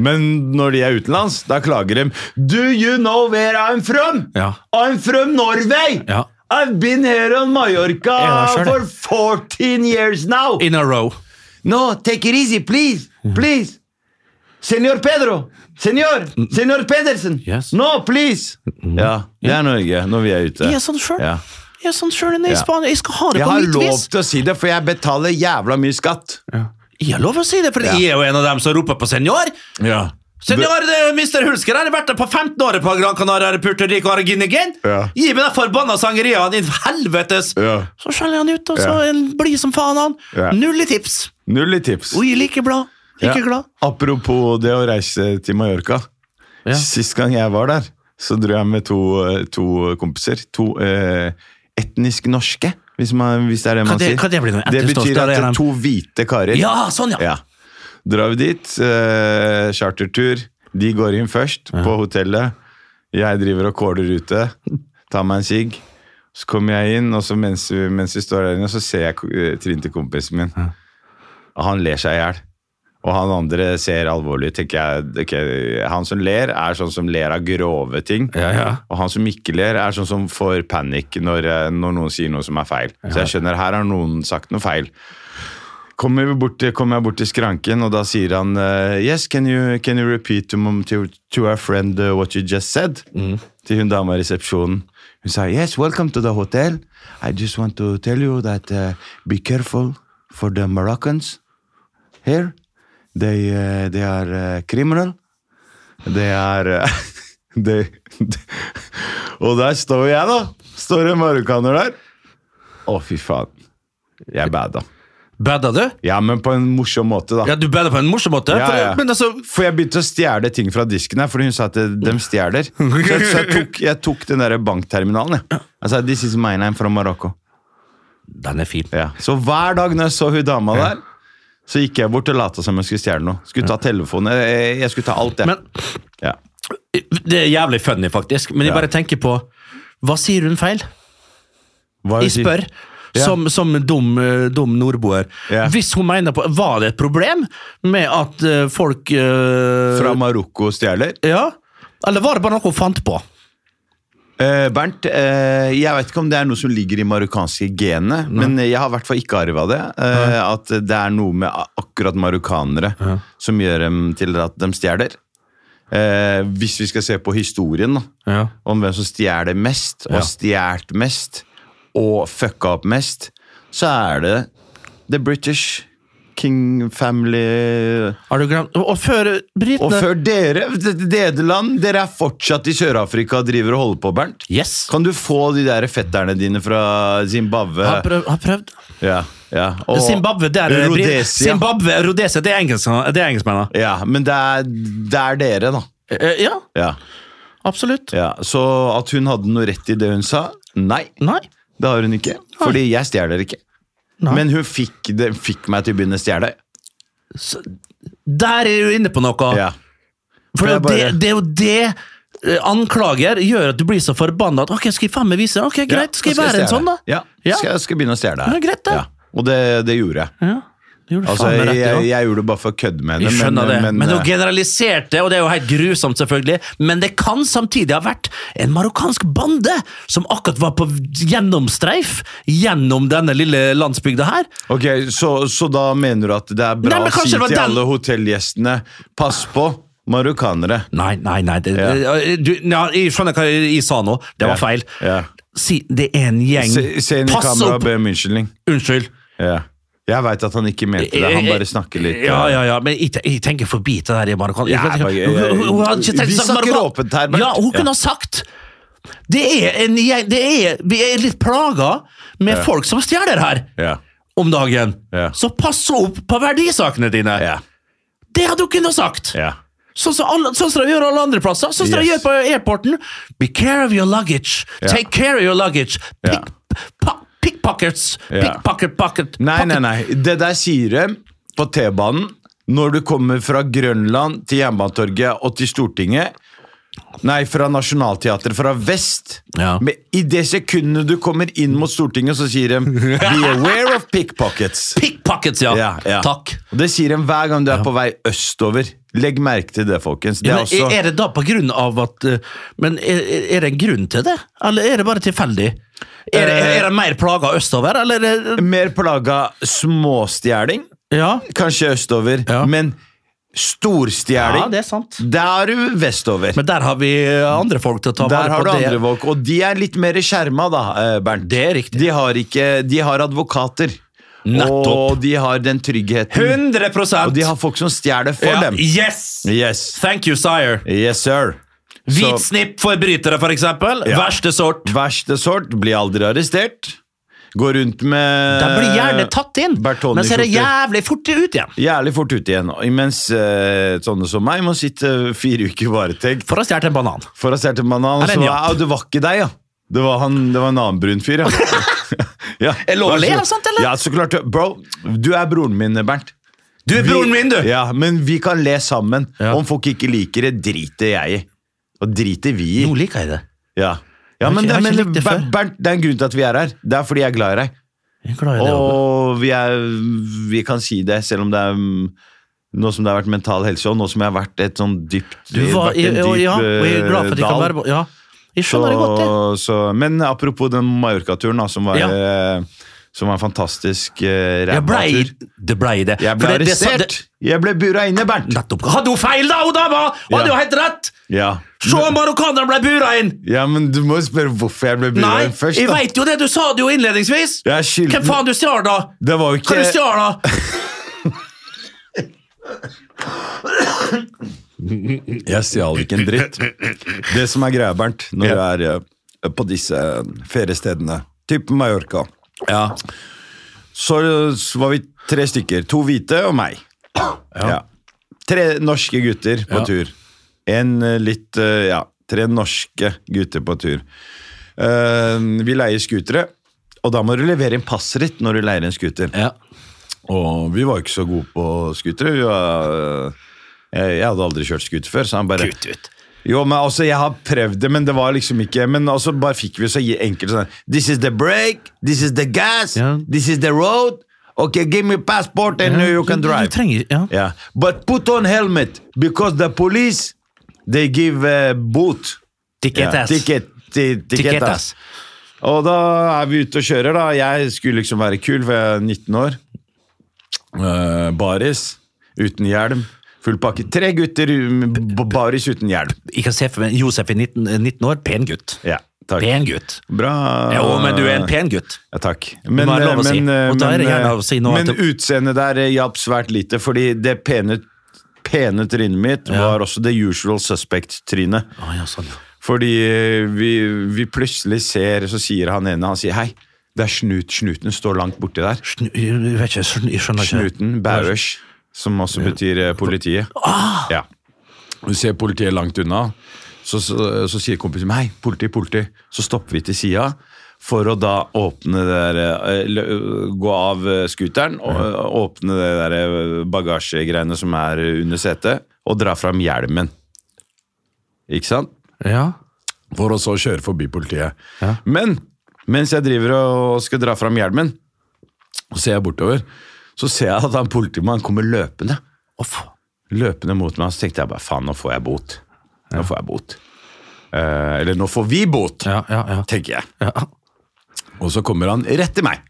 Speaker 2: Men når de er utenlands, da klager de Do you know where I'm from?
Speaker 3: Ja.
Speaker 2: I'm from Norway!
Speaker 3: Ja.
Speaker 2: I've been here on Mallorca
Speaker 3: Jeg var selv,
Speaker 2: for 14 years now!
Speaker 3: In a row.
Speaker 2: No, take it easy, please! Please! Senor Pedro! Senor! Senor Pedersen!
Speaker 3: Mm. Yes. Mm-hmm.
Speaker 2: No, please! Ja, det er Norge når vi er ute.
Speaker 3: Jeg er sånn sjøl.
Speaker 2: Ja.
Speaker 3: Jeg er sånn sjøl i
Speaker 2: Ja.
Speaker 3: Spania. Jeg skal ha det
Speaker 2: Jeg
Speaker 3: på
Speaker 2: har
Speaker 3: mitt
Speaker 2: lov
Speaker 3: vis.
Speaker 2: til å si det, for jeg betaler jævla mye skatt.
Speaker 3: Jeg har lov å si det, for jeg er jo en av dem som roper på senor.
Speaker 2: Ja.
Speaker 3: Senor eh, Mr. Hulsker har vært der på 15 år på Gran Canaria, Puerto Rico og Arginegin.
Speaker 2: Ja.
Speaker 3: Gi meg den forbanna sangeriaen, din helvetes!
Speaker 2: Ja.
Speaker 3: Så skjeller han ut, og så
Speaker 2: Ja.
Speaker 3: er han blid som faen, han.
Speaker 2: Ja.
Speaker 3: Null i tips.
Speaker 2: Null i tips.
Speaker 3: Og jeg er like blad. Like
Speaker 2: Ja.
Speaker 3: glad.
Speaker 2: Apropos det å reise til Mallorca.
Speaker 3: Ja.
Speaker 2: Sist gang jeg var der, så dro jeg med to, eh, to kompiser. To eh, etnisk norske, hvis, man, hvis det er det man
Speaker 3: det-
Speaker 2: sier.
Speaker 3: hva det blir nå?
Speaker 2: det
Speaker 3: Etnisk norske,
Speaker 2: betyr
Speaker 3: da,
Speaker 2: at det
Speaker 3: det er
Speaker 2: er
Speaker 3: dem.
Speaker 2: to hvite karer.
Speaker 3: Ja, sånn, ja.
Speaker 2: Ja. Drar vi dit, eh, chartertur. De går inn først på hotellet. Jeg driver og kåler ute. Tar meg en sigg. Så kommer jeg inn, og så mens, vi- mens vi står der inne, så ser jeg ko- eh, trynet til kompisen min. Og han ler seg i hjel. Og han andre ser alvorlig, tenker jeg. ok, han som ler, er sånn som ler av grove ting.
Speaker 3: Ja, ja.
Speaker 2: Og han som ikke ler, er sånn som får panikk når, eh, når noen sier noe som er feil. Så jeg skjønner, her har noen sagt noe feil. Kommer, vi bort til, kommer jeg bort til skranken, og da sier han eh, Yes, can you, can you repeat to, mom, to, to our friend eh, what you just said? Til hun dama i resepsjonen. Hun sa Yes, welcome to the hotel. I just want to tell you that eh, be careful for the Moroccans here. They, eh, they are eh, criminal. Det er eh, det, det. Og der står jeg, da. Står en marokkaner der. Å, fy faen. Jeg bada.
Speaker 3: Badda du?
Speaker 2: Ja, men på en morsom måte, da.
Speaker 3: Ja, du badda på en morsom måte.
Speaker 2: Ja,
Speaker 3: for,
Speaker 2: ja.
Speaker 3: Men altså,
Speaker 2: For jeg begynte å stjele ting fra disken her, fordi hun sa at de stjeler. Så, jeg- så jeg, tok, jeg tok den der bankterminalen. Jeg. Jeg sa, This is my name from Morocco.
Speaker 3: den er fin.
Speaker 2: Ja. Så hver dag når jeg så hun dama der, så gikk jeg bort og lata som jeg skulle stjele noe. Skulle ta telefonen. Jeg, jeg skulle ta alt, jeg.
Speaker 3: Men
Speaker 2: ja.
Speaker 3: Det er jævlig funny, faktisk. Men jeg
Speaker 2: Ja.
Speaker 3: bare tenker på Hva sier hun feil?
Speaker 2: Hva-
Speaker 3: Jeg spør.
Speaker 2: Ja.
Speaker 3: Som, som dum, eh, dum nordboer.
Speaker 2: Ja.
Speaker 3: Hvis hun mener på Var det et problem med at eh, folk eh,
Speaker 2: Fra Marokko stjeler?
Speaker 3: Ja? Eller var det bare noe hun fant på?
Speaker 2: Eh, Bernt, eh, jeg vet ikke om det er noe som ligger i marokkanske genet, men eh, jeg har i hvert fall ikke arva det. Eh, at det er noe med a- akkurat marokkanere som gjør dem til at de stjeler. Eh, hvis vi skal se på historien da,
Speaker 3: Ja.
Speaker 2: om hvem som stjeler mest, og
Speaker 3: Ja.
Speaker 2: har stjålet mest, og fucka opp mest, så er det The British King Family
Speaker 3: Har du glemt Og og før eh,
Speaker 2: Og
Speaker 3: britene
Speaker 2: før dere, Nederland, dere er fortsatt i Sør-Afrika og driver og holder på, Bernt.
Speaker 3: Yes!
Speaker 2: Kan du få de der fetterne dine fra Zimbabwe?
Speaker 3: Har prøvd. Har prøvd.
Speaker 2: Ja, ja. Og-
Speaker 3: Zimbabwe, det er brit-
Speaker 2: Rhodesia.
Speaker 3: Zimbabwe, Rhodesia, det er, engelsk- det er engelskmennene.
Speaker 2: Ja, men det er, det er dere, da.
Speaker 3: Eh, Ja,
Speaker 2: Ja,
Speaker 3: absolutt.
Speaker 2: ja. Så at hun hadde noe rett i det hun sa? Nei,
Speaker 3: Nei.
Speaker 2: det har hun ikke. Fordi jeg stjeler ikke.
Speaker 3: Nei.
Speaker 2: Men hun fikk, det, fikk meg til å begynne å stjele.
Speaker 3: Der er du inne på noe!
Speaker 2: Ja.
Speaker 3: For det,
Speaker 2: Jeg
Speaker 3: er jo
Speaker 2: bare-
Speaker 3: det, det er jo det eh, anklager gjør at du blir så forbanna at ok, skal jeg faen meg vise Ok, greit, skal jeg
Speaker 2: da
Speaker 3: være en
Speaker 2: stjele.
Speaker 3: sånn, da?
Speaker 2: Ja,
Speaker 3: Ja.
Speaker 2: Skal, jeg skal begynne å stjele her.
Speaker 3: Ja, greit det.
Speaker 2: Og det, det gjorde jeg.
Speaker 3: Ja. Du gjorde
Speaker 2: Altså,
Speaker 3: faen
Speaker 2: jeg,
Speaker 3: meg rett, i
Speaker 2: jeg,
Speaker 3: også.
Speaker 2: gjorde det bare for å kødde med det.
Speaker 3: Jeg skjønner det, men,
Speaker 2: men, eh,
Speaker 3: hun generaliserte, og det er jo helt grusomt, selvfølgelig. Men det kan samtidig ha vært en marokkansk bande som akkurat var på gjennomstreif gjennom denne lille landsbygda her.
Speaker 2: Ok, så, så da mener du at det er
Speaker 3: Nei,
Speaker 2: bra
Speaker 3: men
Speaker 2: å si
Speaker 3: kanskje
Speaker 2: til
Speaker 3: det var den-
Speaker 2: alle hotellgjestene Pass på marokkanere.
Speaker 3: Nei, nei, nei. Det,
Speaker 2: Ja.
Speaker 3: du, ja, jeg skjønner hva jeg, jeg sa nå.
Speaker 2: Ja.
Speaker 3: Det var feil.
Speaker 2: Ja.
Speaker 3: Si, det er en gjeng.
Speaker 2: Se, se inn i
Speaker 3: Mm. Pass
Speaker 2: kameraet og
Speaker 3: opp!
Speaker 2: be om unnskyldning.
Speaker 3: Unnskyld.
Speaker 2: Ja. Jeg veit at han ikke mente det, han bare snakker litt.
Speaker 3: Eh,
Speaker 2: eh.
Speaker 3: Ja, ja, ja, men jeg, te- jeg tenker forbi til det her i marokkan.
Speaker 2: Ja,
Speaker 3: Jeg-
Speaker 2: bare- eh,
Speaker 3: hun- hun- hun- hun hadde ikke trengt å
Speaker 2: Vi
Speaker 3: snakke
Speaker 2: snakker
Speaker 3: marokkan-
Speaker 2: åpent her, Bert.
Speaker 3: Ja, hun
Speaker 2: Ja.
Speaker 3: kunne ha sagt det er en, gjeng- det er, Vi er litt plaga med folk som stjeler her
Speaker 2: Ja.
Speaker 3: om dagen.
Speaker 2: Ja.
Speaker 3: Så pass opp på verdisakene dine!
Speaker 2: Ja.
Speaker 3: Det hadde hun kunnet ha sagt!
Speaker 2: Ja.
Speaker 3: Sånn som alle, sånn som de gjør alle andre plasser. Sånn som de
Speaker 2: Yes.
Speaker 3: gjør på airporten. Be care of your luggage.
Speaker 2: Ja.
Speaker 3: Take care of your luggage. Pick,
Speaker 2: Ja.
Speaker 3: pa, pickpockets.
Speaker 2: Ja.
Speaker 3: Pickpocket, pocket,
Speaker 2: Nei,
Speaker 3: pocket.
Speaker 2: nei, nei. Det der sier de på T-banen når du kommer fra Grønland til Jernbanetorget og til Stortinget. Nei, fra Nationaltheatret, fra vest.
Speaker 3: Ja.
Speaker 2: Men i det sekundet du kommer inn mot Stortinget, så sier de 'Be aware of pickpockets'.
Speaker 3: Pickpockets, ja.
Speaker 2: Ja, ja.
Speaker 3: Takk.
Speaker 2: Og Det sier de hver gang du er på vei østover. Legg merke til det, folkens. Det
Speaker 3: Ja, altså.
Speaker 2: er
Speaker 3: men
Speaker 2: også
Speaker 3: Er det da på grunn av at eh, Men er, er- er det en grunn til det, eller er det bare tilfeldig? Er, det- er, er det mer plaga østover, eller er det,
Speaker 2: mer plaga småstjeling,
Speaker 3: Ja,
Speaker 2: kanskje østover,
Speaker 3: Ja.
Speaker 2: men storstjeling,
Speaker 3: ja det er sant.
Speaker 2: der er du vestover.
Speaker 3: Men der har vi eh, andre folk til å ta
Speaker 2: Der
Speaker 3: vare
Speaker 2: har
Speaker 3: på
Speaker 2: du
Speaker 3: det.
Speaker 2: andre folk, og de er litt mer skjerma, da, eh, Bernt.
Speaker 3: Det er riktig.
Speaker 2: De har, ikke, de har advokater.
Speaker 3: Nettopp.
Speaker 2: Og de har den tryggheten.
Speaker 3: 100
Speaker 2: Og de har folk som stjeler for
Speaker 3: ja.
Speaker 2: dem.
Speaker 3: Yes!
Speaker 2: Yes.
Speaker 3: Thank you, sire.
Speaker 2: Yes, sir. Så-
Speaker 3: Hvitsnippforbrytere, for eksempel.
Speaker 2: Ja.
Speaker 3: Verste sort.
Speaker 2: Verste sort. Blir aldri arrestert. Går rundt med
Speaker 3: De blir gjerne tatt inn,
Speaker 2: Bertone
Speaker 3: men så er det
Speaker 2: skjorter.
Speaker 3: jævlig fort ut igjen.
Speaker 2: Jævlig fort ute igjen. Mens eh, sånne som meg må sitte fire uker i varetekt
Speaker 3: For å ha stjålet en banan.
Speaker 2: for å se til bananen.
Speaker 3: Er det
Speaker 2: Så var,
Speaker 3: en japp?
Speaker 2: «Au, det var ikke deg, ja. Det var, han, det var en annen brun fyr, ja. ja.
Speaker 3: Er det lov å le
Speaker 2: så-
Speaker 3: av sånt, eller?
Speaker 2: Ja, så klart. Bro, du er broren min, Bernt.
Speaker 3: Du er
Speaker 2: Vi-
Speaker 3: broren min, du!
Speaker 2: Ja, men vi kan le sammen.
Speaker 3: Ja.
Speaker 2: Om folk ikke liker det, driter jeg i. Og driter vi i.
Speaker 3: Nå liker jeg det.
Speaker 2: Ja. Ja,
Speaker 3: har
Speaker 2: men,
Speaker 3: ikke- jeg
Speaker 2: det,
Speaker 3: har ikke
Speaker 2: men
Speaker 3: likt det
Speaker 2: Ber-
Speaker 3: før.
Speaker 2: Bernt, det er en grunn til at vi er her. Det er fordi jeg er glad i deg.
Speaker 3: Jeg er glad i det også.
Speaker 2: Og vi, er, vi kan si det, selv om det er mm, nå som det har vært mental helse, og nå som jeg har vært et sånn dypt
Speaker 3: Du var,
Speaker 2: vært en
Speaker 3: jeg, jeg,
Speaker 2: dyp,
Speaker 3: ja, og jeg er glad for at jeg
Speaker 2: eh,
Speaker 3: kan
Speaker 2: dal.
Speaker 3: være på Ja, jeg
Speaker 2: Så,
Speaker 3: skjønner det godt, det.
Speaker 2: så, men apropos den Mallorca-turen, da, som var,
Speaker 3: Ja.
Speaker 2: eh, som var en fantastisk eh,
Speaker 3: Jeg blei,
Speaker 2: ræva-tur.
Speaker 3: det blei det.
Speaker 2: Jeg
Speaker 3: For
Speaker 2: ble
Speaker 3: det- det sa-
Speaker 2: arrestert!
Speaker 3: det-
Speaker 2: Jeg ble bura inne, Bernt!
Speaker 3: Nettopp. Hadde hun feil, da, hun dama?! Hun hadde
Speaker 2: Ja.
Speaker 3: jo helt rett!
Speaker 2: Ja.
Speaker 3: Se, marokkaneren ble bura inn!
Speaker 2: ja, men du må jo spørre hvorfor jeg ble bura
Speaker 3: Nei,
Speaker 2: inn først,
Speaker 3: jeg
Speaker 2: da.
Speaker 3: veit jo det! Du sa det jo innledningsvis!
Speaker 2: Jeg er skylden.
Speaker 3: Hvem faen du stjal, da?
Speaker 2: Det var jo
Speaker 3: Hva du
Speaker 2: ikke
Speaker 3: stjal, da?
Speaker 2: Jeg stjal ikke en dritt. Det som er greia, Bernt, når
Speaker 3: Ja.
Speaker 2: du er eh, på disse eh, feriestedene, typ Mallorca
Speaker 3: Ja.
Speaker 2: så, så var vi tre stykker. To hvite og meg. Ja. Tre norske gutter på
Speaker 3: Ja.
Speaker 2: tur. En eh, litt eh, Ja, tre norske gutter på tur. Eh, vi leier skutere, og da må du levere inn passet ditt når du leier en scooter.
Speaker 3: ja.
Speaker 2: Og vi var ikke så gode på scootere. Vi var, eh, jeg, jeg hadde aldri kjørt scooter før, så han bare
Speaker 3: Kutt ut.
Speaker 2: jo, men altså, Jeg har prøvd det, men det var liksom ikke Men altså, bare fikk vi så gi- enkelt sånn This is the break, this is the gas,
Speaker 3: Ja.
Speaker 2: this is the road. Ok, give me passport and you can
Speaker 3: Du-
Speaker 2: drive.
Speaker 3: Du trenger, ja.
Speaker 2: yeah. But put on helmet, because the police, they give uh, boot.
Speaker 3: Ticket
Speaker 2: Ja,
Speaker 3: ass.
Speaker 2: ticket, ti, ticket,
Speaker 3: Ticket
Speaker 2: ass.
Speaker 3: ass.
Speaker 2: Og da er vi ute og kjører, da. Jeg skulle liksom være kul, for jeg er 19 år. Eh, baris, uten hjelm. Full pakke. Tre gutter um, b- baris uten hjelm.
Speaker 3: Jeg kan se for meg Josef i 19, eh, 19 år. Pen gutt.
Speaker 2: Ja, takk.
Speaker 3: Pen gutt.
Speaker 2: Bra.
Speaker 3: Jo, men du er en pen gutt.
Speaker 2: Ja, takk. Men,
Speaker 3: må ha lov å
Speaker 2: men, eh,
Speaker 3: si. Og da er det gjerne
Speaker 2: men,
Speaker 3: lov å si noe
Speaker 2: men
Speaker 3: at det-
Speaker 2: utseendet der eh, hjalp svært lite, fordi det pene, pene trynet mitt var også the usual suspect-trynet.
Speaker 3: Å, ja, sånn, ja.
Speaker 2: Fordi eh, vi, vi plutselig ser, så sier han ene, han sier hei, det er snut, snuten står langt borti der.
Speaker 3: Snu, jeg vet ikke, snu, jeg skjønner ikke.
Speaker 2: Snuten, Bauers, som også betyr eh, politiet. Ja. Vi ser politiet langt unna, så, så, så sier kompisen min, hei, politi, politi. Så stopper vi til sida for å da åpne det der, eh, lø- gå av eh, skuteren og eh, åpne det der eh, bagasjegreiene som er eh, under setet, og dra fram hjelmen. Ikke sant?
Speaker 3: Ja.
Speaker 2: for å så kjøre forbi politiet.
Speaker 3: Ja.
Speaker 2: Men mens jeg driver og skal dra fram hjelmen, og ser jeg bortover, så ser jeg at han politimannen kommer løpende.
Speaker 3: Uff.
Speaker 2: Løpende mot meg, så tenkte jeg bare faen, nå får jeg bot. Nå får jeg bot. Eh, eller nå får vi bot,
Speaker 3: Ja, ja, ja.
Speaker 2: tenker jeg.
Speaker 3: ja.
Speaker 2: Og så kommer han rett til meg.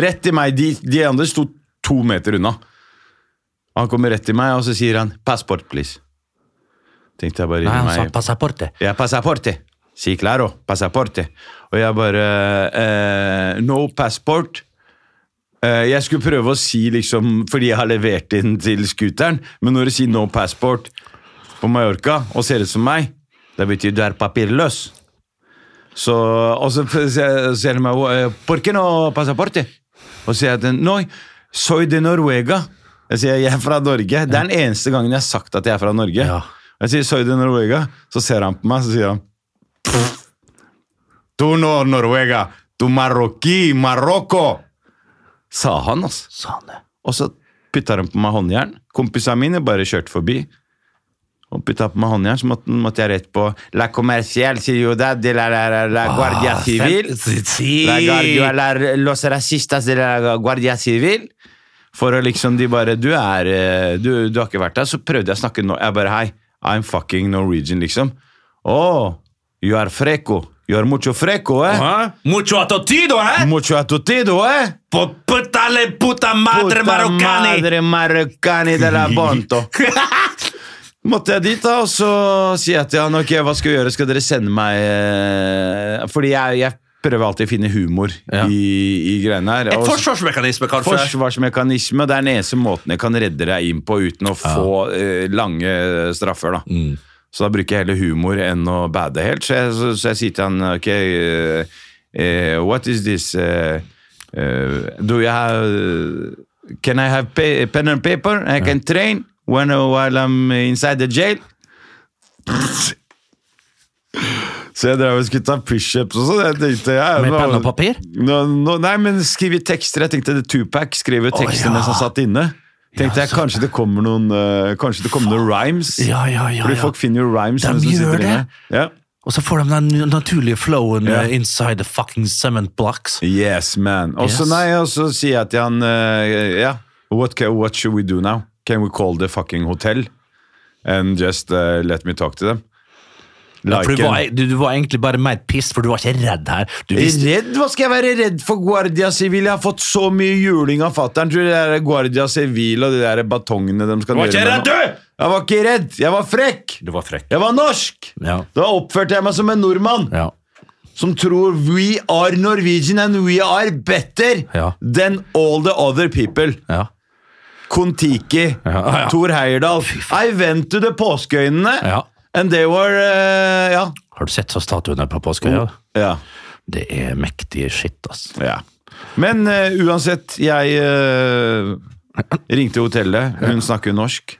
Speaker 2: Rett til meg. De, de andre sto to meter unna. Han kommer rett til meg, og så sier han 'passport, please'. Tenkte jeg bare
Speaker 3: Nei, han sa
Speaker 2: meg-
Speaker 3: passaporte.
Speaker 2: Ja, passaporte. Si claro, passaporte. Og jeg bare eh, No passport. Eh, jeg skulle prøve å si liksom Fordi jeg har levert inn til scooteren, men når du sier no passport på Mallorca og ser ut som meg, det betyr du er papirløs. Så, og så f- se- ser de meg eh, Por qué no passaporte? Og sier jeg at Noi, soy de Noruega. Jeg sier jeg er fra Norge. Det er den eneste gangen jeg har sagt at jeg er fra Norge.
Speaker 3: Ja.
Speaker 2: Jeg sier soy de Noruega, så ser han på meg, så sier han Du no Noruega, du marokki, Marokko! Sa han, altså.
Speaker 3: Sa han det.
Speaker 2: Og så putta de på meg håndjern. Kompisene mine bare kjørte forbi. Og putta på meg håndjern, så måtte, måtte jeg rett på La comercial ciudad de la, la, la, la guardia civil.
Speaker 3: Ah, si- si.
Speaker 2: La guardia, la, los racistas de la guardia civil. For å liksom De bare Du er eh, Du, du har ikke vært der. Så prøvde jeg å snakke nå. Jeg bare Hei, I'm fucking Norwegian, liksom. Oh, you are freco. You are mucho freco, eh?
Speaker 3: Hæ? Mucho atotido, eh?
Speaker 2: Mucho atotido, eh?
Speaker 3: På puttale puta madre
Speaker 2: Puta
Speaker 3: maroccani!
Speaker 2: madre maroccani de la bonto. Måtte jeg dit, da, og så sier jeg til han ok, hva skal vi gjøre, skal dere sende meg eh, Fordi jeg, jeg prøver alltid å finne humor
Speaker 3: Ja.
Speaker 2: i, i greiene her.
Speaker 3: Et
Speaker 2: og-
Speaker 3: forsvarsmekanisme, kanskje?
Speaker 2: Forsvarsmekanisme. Det er den eneste måten jeg kan redde deg inn på uten å få eh, lange straffer. da.
Speaker 3: Mm.
Speaker 2: Så da bruker jeg heller humor enn å bade helt. Så jeg, så, så jeg sier til han ok, eh, eh, what is this? eh, eh, do you have Can I have pa pen and paper? I can train when, while I'm inside the jail. Så jeg drev og skulle ta pushups og sånn. Jeg tenkte ja,
Speaker 3: Med
Speaker 2: nå-
Speaker 3: penn og papir?
Speaker 2: Nå, nå, nei, men skrive tekster. Jeg tenkte det Tupac skrev jo tekster
Speaker 3: ja.
Speaker 2: mens han satt inne. Tenkte jeg Kanskje det kommer noen eh, Kanskje det kommer noen rhymes.
Speaker 3: Ja, ja, ja,
Speaker 2: Fordi
Speaker 3: ja.
Speaker 2: folk finner jo rhymes.
Speaker 3: De
Speaker 2: mens
Speaker 3: gjør
Speaker 2: sitter inne. Ja.
Speaker 3: Og så får de den naturlige flowen
Speaker 2: Ja.
Speaker 3: eh, inside the fucking cement blocks.
Speaker 2: Yes, man. Og så
Speaker 3: Yes.
Speaker 2: nei, og så sier jeg til han eh, Ja, what, ca- what should we do now? Can we call the fucking hotel? And just eh, let me talk to them?
Speaker 3: For du
Speaker 2: an-
Speaker 3: var, e- du, du var egentlig bare mer piss, for du var ikke redd her. Du visste
Speaker 2: Redd? Hva skal jeg være redd for? Guardia Civil? Jeg har fått så mye juling av fatter'n. Tror du det er Guardia Civil og de der batongene de skal
Speaker 3: Du var ikke
Speaker 2: med
Speaker 3: redd,
Speaker 2: meg? Jeg var ikke redd! Jeg var frekk!
Speaker 3: Du var frekk.
Speaker 2: Jeg var norsk!
Speaker 3: Ja.
Speaker 2: Da oppførte jeg meg som en nordmann
Speaker 3: Ja.
Speaker 2: som tror we are Norwegian and we are better
Speaker 3: Ja.
Speaker 2: than all the other people.
Speaker 3: ja.
Speaker 2: Kon-Tiki,
Speaker 3: Ja, ja.
Speaker 2: Thor Heyerdahl. I went to the påskeøynene,
Speaker 3: Ja.
Speaker 2: and they were eh, Ja.
Speaker 3: Har du sett så statuen her på Påskeøya?
Speaker 2: ja.
Speaker 3: Det er mektige shit, ass.
Speaker 2: Ja. Men eh, uansett, jeg eh, ringte hotellet. Hun snakker norsk.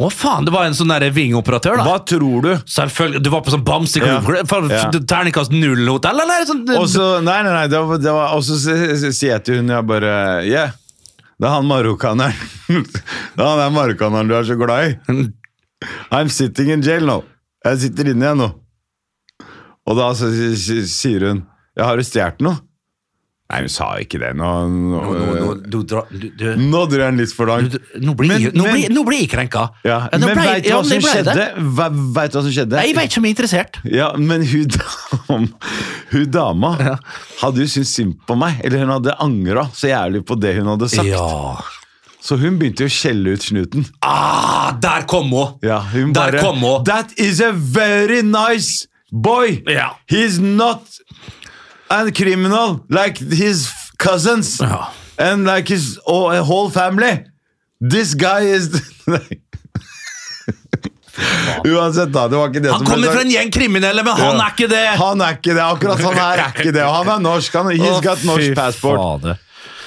Speaker 3: Å faen, det var en sånn der vingoperatør, da.
Speaker 2: Hva tror du?
Speaker 3: Selvfølgelig, Du var på sånn bamseklubb?
Speaker 2: Ja.
Speaker 3: Faen,
Speaker 2: Ja.
Speaker 3: Terningkast null-hotell, eller? Sånn,
Speaker 2: Og så nei, nei, nei, det var, det var, og så s- s- sier jeg til hun jeg bare Yeah, det er han marokkaneren. det er han der marokkaneren du er så glad i. I'm sitting in jail nå. Jeg sitter inne igjen nå. Og da så, s- s- sier hun Ja, har du stjålet noe? Nei, hun sa ikke det. Nå, nå,
Speaker 3: Nå- nå- nå- du drar- du- du-
Speaker 2: nå drar jeg den litt for langt.
Speaker 3: Du- Nå blir
Speaker 2: Men-
Speaker 3: jeg- nå
Speaker 2: men-
Speaker 3: blir- nå blir jeg krenka.
Speaker 2: Ja,
Speaker 3: nå
Speaker 2: men
Speaker 3: ble-
Speaker 2: veit du
Speaker 3: ja,
Speaker 2: hva som
Speaker 3: det ble
Speaker 2: skjedde?
Speaker 3: det.
Speaker 2: Hva, vet du hva som skjedde?
Speaker 3: Nei, Jeg vet ikke om jeg er interessert.
Speaker 2: Ja, men hun, dam, hun dama hadde jo syntes synd på meg. Eller hun hadde angra så jævlig på det hun hadde sagt.
Speaker 3: Ja.
Speaker 2: Så hun begynte jo å skjelle ut snuten.
Speaker 3: Ah, der kom hun!
Speaker 2: Ja, hun
Speaker 3: Der
Speaker 2: bare,
Speaker 3: kom hun.
Speaker 2: That is a very nice boy!
Speaker 3: Ja.
Speaker 2: He's not a criminal like his cousins
Speaker 3: Ja.
Speaker 2: and like his oh, whole family. This guy is Nei. Uansett, da. Det var ikke det
Speaker 3: Han
Speaker 2: som ble
Speaker 3: kommer fra
Speaker 2: sagt.
Speaker 3: en gjeng kriminelle, men han
Speaker 2: Ja.
Speaker 3: er ikke det!
Speaker 2: Han er ikke det. Akkurat han her er ikke det. Og han er norsk. Han, he's
Speaker 3: Å,
Speaker 2: got norsk
Speaker 3: fy
Speaker 2: passport.
Speaker 3: fader.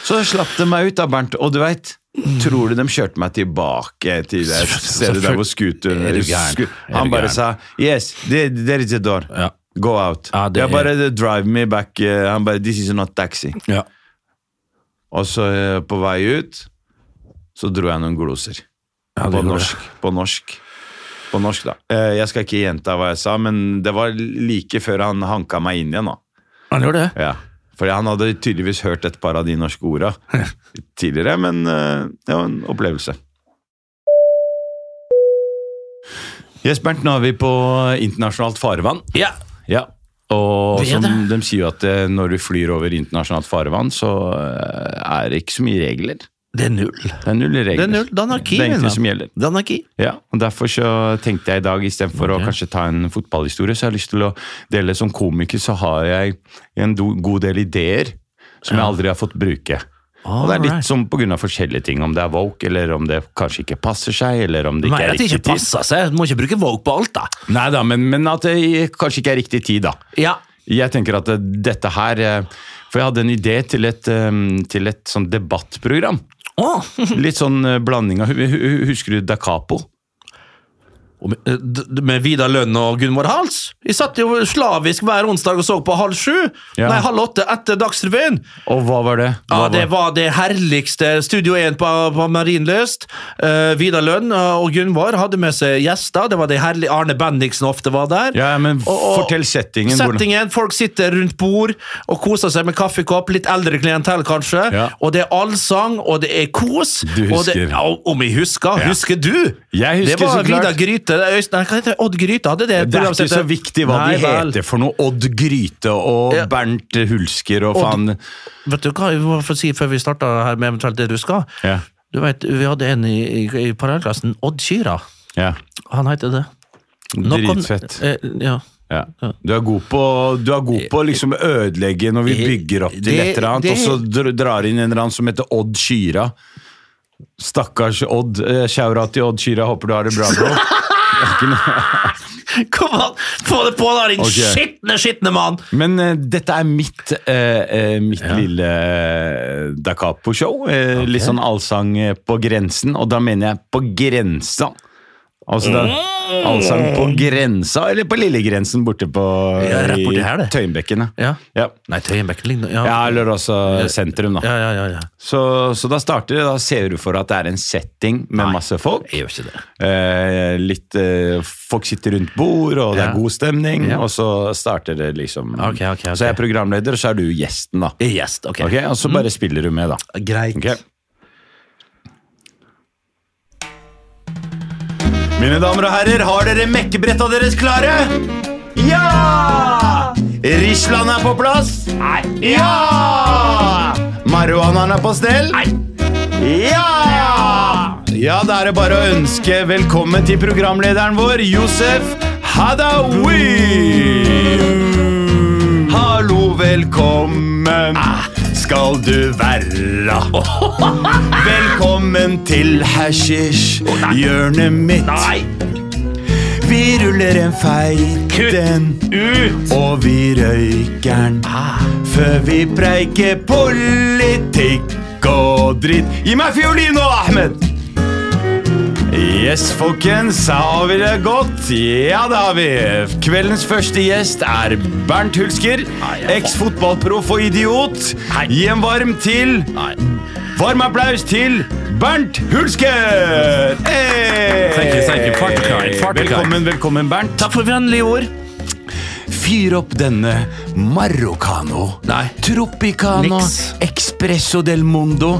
Speaker 2: Så slapp de meg ut da, Bernt. Og du veit, tror du de kjørte meg tilbake til det stedet der hvor scooteren
Speaker 3: Er du gæren?
Speaker 2: sku-
Speaker 3: Er
Speaker 2: Han
Speaker 3: du
Speaker 2: bare
Speaker 3: gæren?
Speaker 2: sa Yes, there, there is a door.
Speaker 3: Ja.
Speaker 2: Go out.
Speaker 3: Ja, det
Speaker 2: jeg
Speaker 3: er-
Speaker 2: bare drive me back. eh, Han bare This is not taxi.
Speaker 3: Ja.
Speaker 2: Og så eh, på vei ut, så dro jeg noen gloser.
Speaker 3: Ja, det
Speaker 2: på
Speaker 3: gjorde
Speaker 2: norsk. På norsk. På norsk, da. Eh, Jeg skal ikke gjenta hva jeg sa, men det var like før han hanka meg inn igjen. da.
Speaker 3: Han gjør det.
Speaker 2: Ja. Fordi han hadde tydeligvis hørt et par av de norske orda tidligere, men eh, det var en opplevelse. Yes, Bernt, nå er vi på internasjonalt farvann.
Speaker 3: Ja.
Speaker 2: Ja. Og
Speaker 3: Det er
Speaker 2: som
Speaker 3: det.
Speaker 2: de sier jo at eh, når du flyr over internasjonalt farvann, så eh, er det ikke så mye regler.
Speaker 3: Det er null.
Speaker 2: Det er null regler.
Speaker 3: Det er null. Det er anarki,
Speaker 2: Det er
Speaker 3: mener
Speaker 2: egentlig
Speaker 3: jeg.
Speaker 2: som gjelder.
Speaker 3: Det er anarki.
Speaker 2: Ja, og Derfor så tenkte jeg i dag, istedenfor å kanskje ta en fotballhistorie, så har jeg lyst til å dele som komiker, så har jeg en do, god del ideer som jeg aldri har fått bruke. og det er litt
Speaker 3: Alright.
Speaker 2: sånn på grunn av forskjellige ting, om det er woke, eller om det kanskje ikke passer seg, eller om det ikke
Speaker 3: Nei,
Speaker 2: er
Speaker 3: at det
Speaker 2: riktig
Speaker 3: ikke
Speaker 2: tid.
Speaker 3: passer seg. Du må ikke bruke Vogue på alt, da.
Speaker 2: Nei da, men, men at det kanskje ikke er riktig tid, da.
Speaker 3: Ja.
Speaker 2: Jeg tenker at eh, dette her eh, For jeg hadde en idé til et, eh, til et sånn debattprogram.
Speaker 3: Åh.
Speaker 2: Litt sånn eh, blanding av hu- hu- Husker du Da Capo?
Speaker 3: Og Med, eh, d- d- med Vidar Lønn og Gunvor Hals. Vi satt jo slavisk hver onsdag og så på halv sju.
Speaker 2: Ja.
Speaker 3: Nei, halv åtte etter Dagsrevyen.
Speaker 2: Og hva var det? Hva
Speaker 3: Ja,
Speaker 2: var-
Speaker 3: det var det herligste. Studio 1 på, på Marienlyst. Eh, Vidar Lønn eh, og Gunvor hadde med seg gjester. Det var det herlige. Arne Bendiksen ofte var der.
Speaker 2: Ja, men
Speaker 3: Og- og-
Speaker 2: fortell settingen. hvordan-
Speaker 3: Settingen, Folk sitter rundt bord og koser seg med kaffekopp. Litt eldre klientell, kanskje.
Speaker 2: Ja.
Speaker 3: Og det er allsang, og det er kos.
Speaker 2: Du
Speaker 3: og det,
Speaker 2: husker.
Speaker 3: ja, om jeg husker?
Speaker 2: Ja.
Speaker 3: Husker du?
Speaker 2: Jeg husker
Speaker 3: det var
Speaker 2: så klart.
Speaker 3: Vidar Gryte. det er Øystein- Nei, hva heter det? Odd Gryte hadde det.
Speaker 2: Det er ikke så viktig hva de heter for noe. Odd Gryte og
Speaker 3: Ja.
Speaker 2: Bernt Hulsker og
Speaker 3: Odd-
Speaker 2: faen.
Speaker 3: Vet du hva vi må få si før vi starter her med eventuelt det du skal?
Speaker 2: Ja.
Speaker 3: Du vet, Vi hadde en i, i, i parallellklassen, Odd Kyra.
Speaker 2: Ja.
Speaker 3: Han heter det. Nok om-
Speaker 2: Dritfett.
Speaker 3: Eh, ja.
Speaker 2: Ja. Du, er god på, du er god på å liksom ødelegge når vi bygger opp til
Speaker 3: Det-
Speaker 2: et eller annet,
Speaker 3: det-
Speaker 2: og så dr- drar inn en eller annen som heter Odd Kyra. Stakkars Odd. Eh, Sjaura til Odd Kyra, håper du har det bra, bro.
Speaker 3: Kom an! Få det på, da, din
Speaker 2: Ok.
Speaker 3: skitne, skitne mann!
Speaker 2: Men eh, dette er mitt, eh, eh, mitt lille eh, Da Capo-show. Eh, Litt sånn allsang eh, på grensen, og da mener jeg på grensa. Altså det
Speaker 3: Mm.
Speaker 2: er allsang på grensa, eller på lillegrensen borte på
Speaker 3: Ja, rett borti her,
Speaker 2: i
Speaker 3: det.
Speaker 2: Tøyenbekkenet.
Speaker 3: Ja.
Speaker 2: Ja.
Speaker 3: Nei, Tøyenbekken ligner
Speaker 2: ja, eller også sentrum, da.
Speaker 3: Ja, ja, ja, ja.
Speaker 2: Så, så da starter det. Da ser du for deg at det er en setting med masse folk.
Speaker 3: Jeg gjør ikke det.
Speaker 2: Eh, litt, eh, folk sitter rundt bord, og det
Speaker 3: Ja.
Speaker 2: er god stemning,
Speaker 3: Ja.
Speaker 2: og så starter det liksom
Speaker 3: Ok, ok, ok. Mm.
Speaker 2: Så jeg er programleder, og så er du gjesten, da.
Speaker 3: Jeg er gjest, ok. Mm.
Speaker 2: Ok, Og så bare spiller du med, da.
Speaker 3: Greit.
Speaker 2: Ok. Mine damer og herrer, har dere mekkebretta deres klare? Ja! Risland er på plass? Nei. Ja! Marihuanaen er på stell? Ja! Ja, da er det bare å ønske velkommen til programlederen vår, Josef Hadaoui. Hallo, velkommen skal du være. Velkommen til hasjisj, hjørnet mitt. Vi ruller en feit en, og vi røyker'n før vi preiker politikk og dritt. Gi meg fiolin nå, Ahmed! Yes, folkens, da har vi det godt. Ja, det har vi. Kveldens første gjest er Bernt Hulsker. Eks-fotballproff og idiot. Gi en varm til Varm applaus til Bernt Hulsker! Hey!
Speaker 4: Thank you, thank you. Farteklar, farteklar.
Speaker 2: Velkommen, velkommen, Bernt.
Speaker 3: Takk for vennlige ord.
Speaker 2: Fyr opp denne Marrocano.
Speaker 3: Nei.
Speaker 2: Tropicano.
Speaker 3: Niks.
Speaker 2: Expresso del Mundo.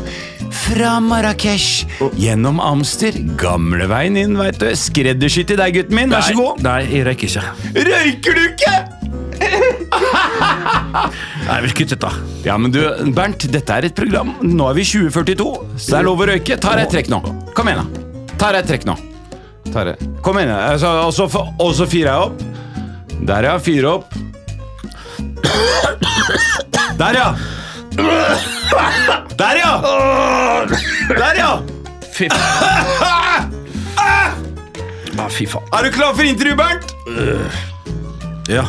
Speaker 2: Fra Marrakech, gjennom Amster, gamleveien inn, veit du. Skreddersy til deg, gutten min. Vær så god.
Speaker 3: Nei, jeg rekker ikke.
Speaker 2: Røyker du ikke?
Speaker 3: Nei, vi kutter ut, da.
Speaker 2: Ja, men du, Bernt, dette er et program. Nå er vi 2042, så det er lov å røyke. Ta deg et trekk nå. Kom igjen, da. Ta deg et trekk nå. Ta deg. Kom igjen, da. Altså, og så f- og så fyrer jeg opp. Der, ja. Fyre opp. Der, ja. Der, ja. Der, ja.
Speaker 3: Fy faen. Ah, fy faen.
Speaker 2: Er du klar for intervju, Bernt?
Speaker 3: Ja.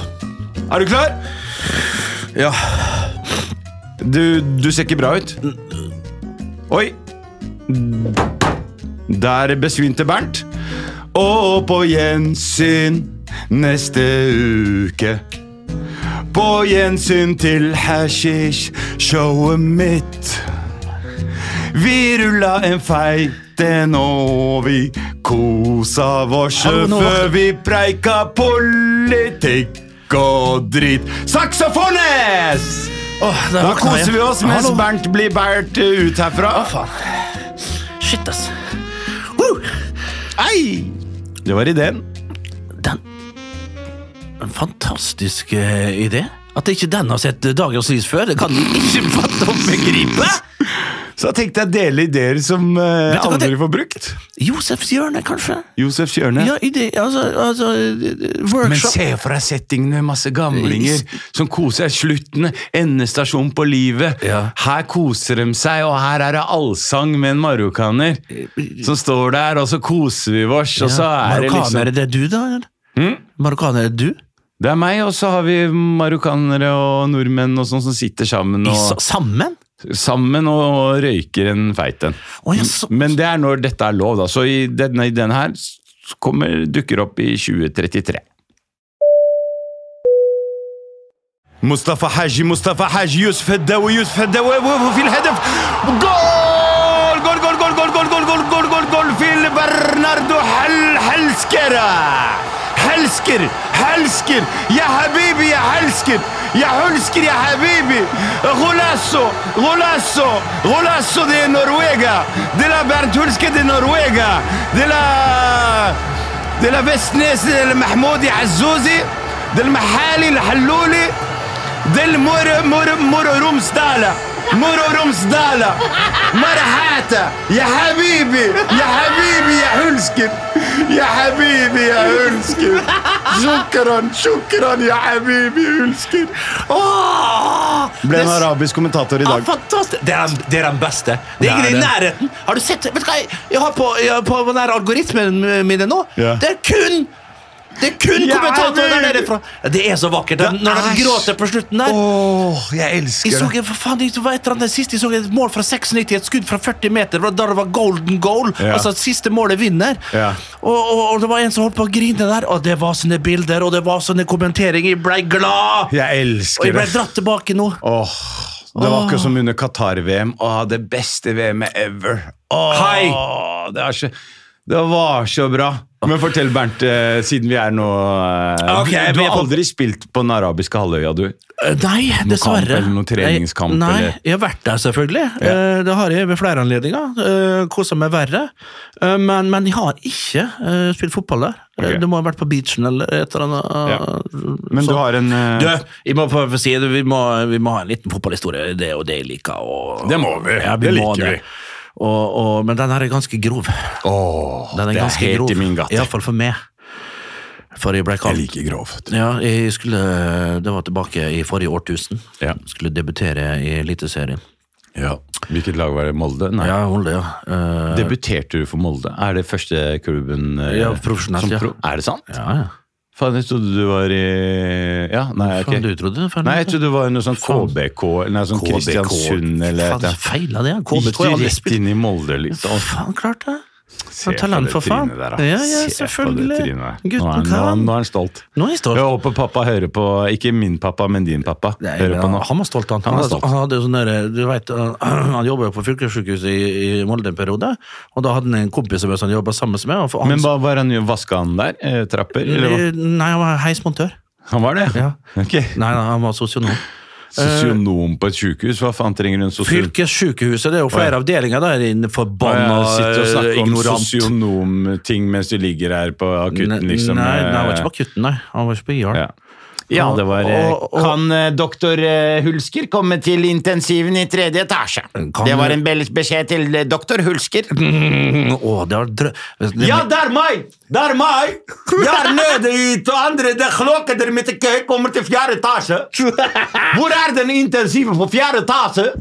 Speaker 2: Er du klar?
Speaker 3: Ja.
Speaker 2: Du, du ser ikke bra ut. Oi. Der besvimte Bernt. Og på gjensyn neste uke. På gjensyn til hashish-showet mitt. Vi rulla en feit liten og vi kosa oss
Speaker 3: Hallo, nå
Speaker 2: før
Speaker 3: vakter-
Speaker 2: vi preika politikk og drit. Saksofones!
Speaker 3: Åh, der
Speaker 2: Da
Speaker 3: våkna jeg.
Speaker 2: koser vi oss mens
Speaker 3: Hallo.
Speaker 2: Bernt blir båret eh, ut herfra.
Speaker 3: Å, faen. Shit, ass. Woo!
Speaker 2: Ei! Det var ideen.
Speaker 3: Den En fantastisk eh, idé. At ikke den har sett eh, dagens lys før, det kan vi ikke fatte og begripe.
Speaker 2: Så da tenkte jeg å dele ideer som eh,
Speaker 3: Vet du hva
Speaker 2: aldri
Speaker 3: det-
Speaker 2: får brukt.
Speaker 3: Josefs hjørne, kanskje?
Speaker 2: Josef Kjørne.
Speaker 3: Ja, idé, altså, altså eh,
Speaker 2: Men
Speaker 3: Workshop.
Speaker 2: se for deg settingen med masse gamlinger som koser seg. Slutten, endestasjon på livet.
Speaker 3: Ja.
Speaker 2: Her koser de seg, og her er det allsang med en marokkaner som står der, og så koser vi oss, og så er det
Speaker 3: Marokkaner,
Speaker 2: liksom Mm?
Speaker 3: er det du, da? eller? Marokkaner, er det du?
Speaker 2: Det er meg, og så har vi marokkanere og nordmenn og sånn som sitter sammen
Speaker 3: I,
Speaker 2: og,
Speaker 3: sa- sammen?
Speaker 2: sammen og røyker en feit en.
Speaker 3: Å, ja, så,
Speaker 2: Men det er når dette er lov, da. Så i denne, i denne her s- kommer, dukker opp i 2033. مصطفى حاجي مصطفى حاجي يوسف الداوي يوسف الداوي وفي الهدف جول جول جول جول جول جول جول جول جول جول جول في برناردو حل حلسكر حلسكر حلسكر يا حبيبي يا حلسكر يا حلسكر يا حبيبي غولاسو غولاسو غولاسو دي نرويجا دي لا برنت هولسكر دي نرويجا دي لا دي لا فيسنيس المحمودي عزوزي دي المحالي الحلولي دي المور مور مور رمس دالا مور رمس دالا مرحاتا يا حبيبي يا حبيبي يا هلسكن يا حبيبي يا هلسكن شكرا شكرا يا حبيبي هلسكن
Speaker 3: Åh! Det-
Speaker 2: arabisk kommentator i
Speaker 3: Ja, fantastisk. Det er, den- det er den beste. Det er ingen
Speaker 2: Det er
Speaker 3: i
Speaker 2: det.
Speaker 3: nærheten. Har du sett Vet du hva, jeg, jeg har på, jeg har på den her algoritmen mine nå.
Speaker 2: Ja.
Speaker 3: Det er kun det er kun
Speaker 2: Ja,
Speaker 3: kommentatorer der
Speaker 2: men-
Speaker 3: nede fra. Det er så vakkert. Den, når de
Speaker 2: er
Speaker 3: gråter på slutten der.
Speaker 2: Åh, jeg
Speaker 3: Jeg
Speaker 2: elsker
Speaker 3: så, en- for faen, det var et eller annet sist jeg så et mål fra 96, et skudd fra 40 meter. det var Da det var golden goal.
Speaker 2: Ja.
Speaker 3: Altså at siste målet vinner.
Speaker 2: Ja.
Speaker 3: Og, og, og det var en som holdt på å grine der. Og det var sånne bilder, og det var sånne kommenteringer. Jeg blei glad!
Speaker 2: Jeg
Speaker 3: Og
Speaker 2: elsker
Speaker 3: jeg blei dratt tilbake nå.
Speaker 2: Åh, det var akkurat som under Qatar-VM. Åh, det beste VM-et ever. Åh,
Speaker 3: Hei!
Speaker 2: Det, er så, det var så bra. Men fortell, Bernt, eh, siden vi er nå eh,
Speaker 3: Ok,
Speaker 2: Du
Speaker 3: vi er
Speaker 2: har
Speaker 3: på-
Speaker 2: aldri spilt på den arabiske halvøya, du?
Speaker 3: Eh, Nei, dessverre.
Speaker 2: kamp eller noe treningskamp,
Speaker 3: Nei, nei,
Speaker 2: eller?
Speaker 3: jeg har vært der selvfølgelig. Eh, Det har jeg ved flere anledninger. Eh, Kosa meg verre. Eh, Men, men jeg har ikke eh, spilt fotball der. Eh,
Speaker 2: Ok.
Speaker 3: Det må ha vært på beachen eller et eller annet. eh,
Speaker 2: Ja. Men
Speaker 3: sånt.
Speaker 2: du har en eh,
Speaker 3: Du, jeg må få få si det, vi må, vi må ha en liten fotballhistorie, det og det jeg liker. Og,
Speaker 2: Det må vi.
Speaker 3: Ja,
Speaker 2: Det
Speaker 3: må
Speaker 2: liker vi.
Speaker 3: Og, og, men den her er ganske grov.
Speaker 2: Åh,
Speaker 3: Den er
Speaker 2: det er
Speaker 3: ganske
Speaker 2: helt
Speaker 3: grov.
Speaker 2: i min gate.
Speaker 3: Iallfall for meg. For jeg ble
Speaker 2: Jeg
Speaker 3: kalt
Speaker 2: liker grovt.
Speaker 3: ja, jeg skulle, det var tilbake i forrige årtusen.
Speaker 2: Ja.
Speaker 3: Skulle debutere i Eliteserien.
Speaker 2: Ja. Hvilket lag var det? Molde? Nei.
Speaker 3: Ja, Molde, ja. Eh,
Speaker 2: Debuterte du for Molde? Er det første klubben eh,
Speaker 3: Ja, profesjonelt,
Speaker 2: som
Speaker 3: ja.
Speaker 2: Er det sant?
Speaker 3: ja, ja.
Speaker 2: Faen, jeg trodde du var i Ja, nei, ok.
Speaker 3: Faen, du trodde det? Faen,
Speaker 2: Nei, jeg trodde det var noe sånn
Speaker 3: Faen.
Speaker 2: KBK, eller noe sånn Kristiansund eller et eller
Speaker 3: Faen,
Speaker 2: annet.
Speaker 3: feila det? KBK
Speaker 2: Gikk
Speaker 3: har
Speaker 2: du
Speaker 3: aldri
Speaker 2: rett
Speaker 3: spilt
Speaker 2: inn i Molde, liksom?
Speaker 3: Faen, klart det.
Speaker 2: Se
Speaker 3: Han tar land for faen.
Speaker 2: trynet der, da.
Speaker 3: Ja, ja,
Speaker 2: Se på det
Speaker 3: selvfølgelig.
Speaker 2: trynet der.
Speaker 3: Gutten
Speaker 2: Nå er han-
Speaker 3: kan.
Speaker 2: Nå er han- nå er han stolt.
Speaker 3: Nå er jeg stolt.
Speaker 2: Jeg håper pappa hører på, ikke min pappa, men din pappa.
Speaker 3: Nei,
Speaker 2: hører
Speaker 3: men
Speaker 2: på
Speaker 3: han,
Speaker 2: nå.
Speaker 3: han var stolt, han.
Speaker 2: Han
Speaker 3: Han,
Speaker 2: var
Speaker 3: hadde-
Speaker 2: stolt.
Speaker 3: han hadde jo sånn der, du vet, han, han jobba jo på fylkessykehuset i, i Molde en periode, og da hadde han en kompis som han jobba sammen med. Og for- han,
Speaker 2: Men hva var han gjorde? Vaska han der? Eh, Trapper? Eller hva?
Speaker 3: Nei, han var heismontør.
Speaker 2: Han var det?
Speaker 3: Ja. Eh,
Speaker 2: Ok.
Speaker 3: Nei, nei, han var sosionom.
Speaker 2: Sosionom på et sykehus? Hva faen trenger du en sosionom?
Speaker 3: Fylkessykehuset, det er jo flere avdelinger der inne, forbanna
Speaker 2: Å, ja, sitte og snakke om
Speaker 3: ignorant.
Speaker 2: sosionomting mens du ligger her på akutten, liksom.
Speaker 3: Nei, nei, han var
Speaker 2: Eh,
Speaker 3: ikke på akutten, nei. Han var ikke på IAR.
Speaker 2: Ja. Ja, det var eh,
Speaker 3: Og- og-
Speaker 2: Kan eh, doktor eh, Hulsker komme til intensiven i tredje etasje?
Speaker 3: Kan-
Speaker 2: Det var en bel- beskjed til eh, doktor Hulsker.
Speaker 3: Mm, å, det var drø... Det-
Speaker 2: Ja, det er meg! Det er meg! Der nede i to andre det klokken der mitt kø kommer til fjerde etasje. Hvor er den intensiven på fjerde etasje?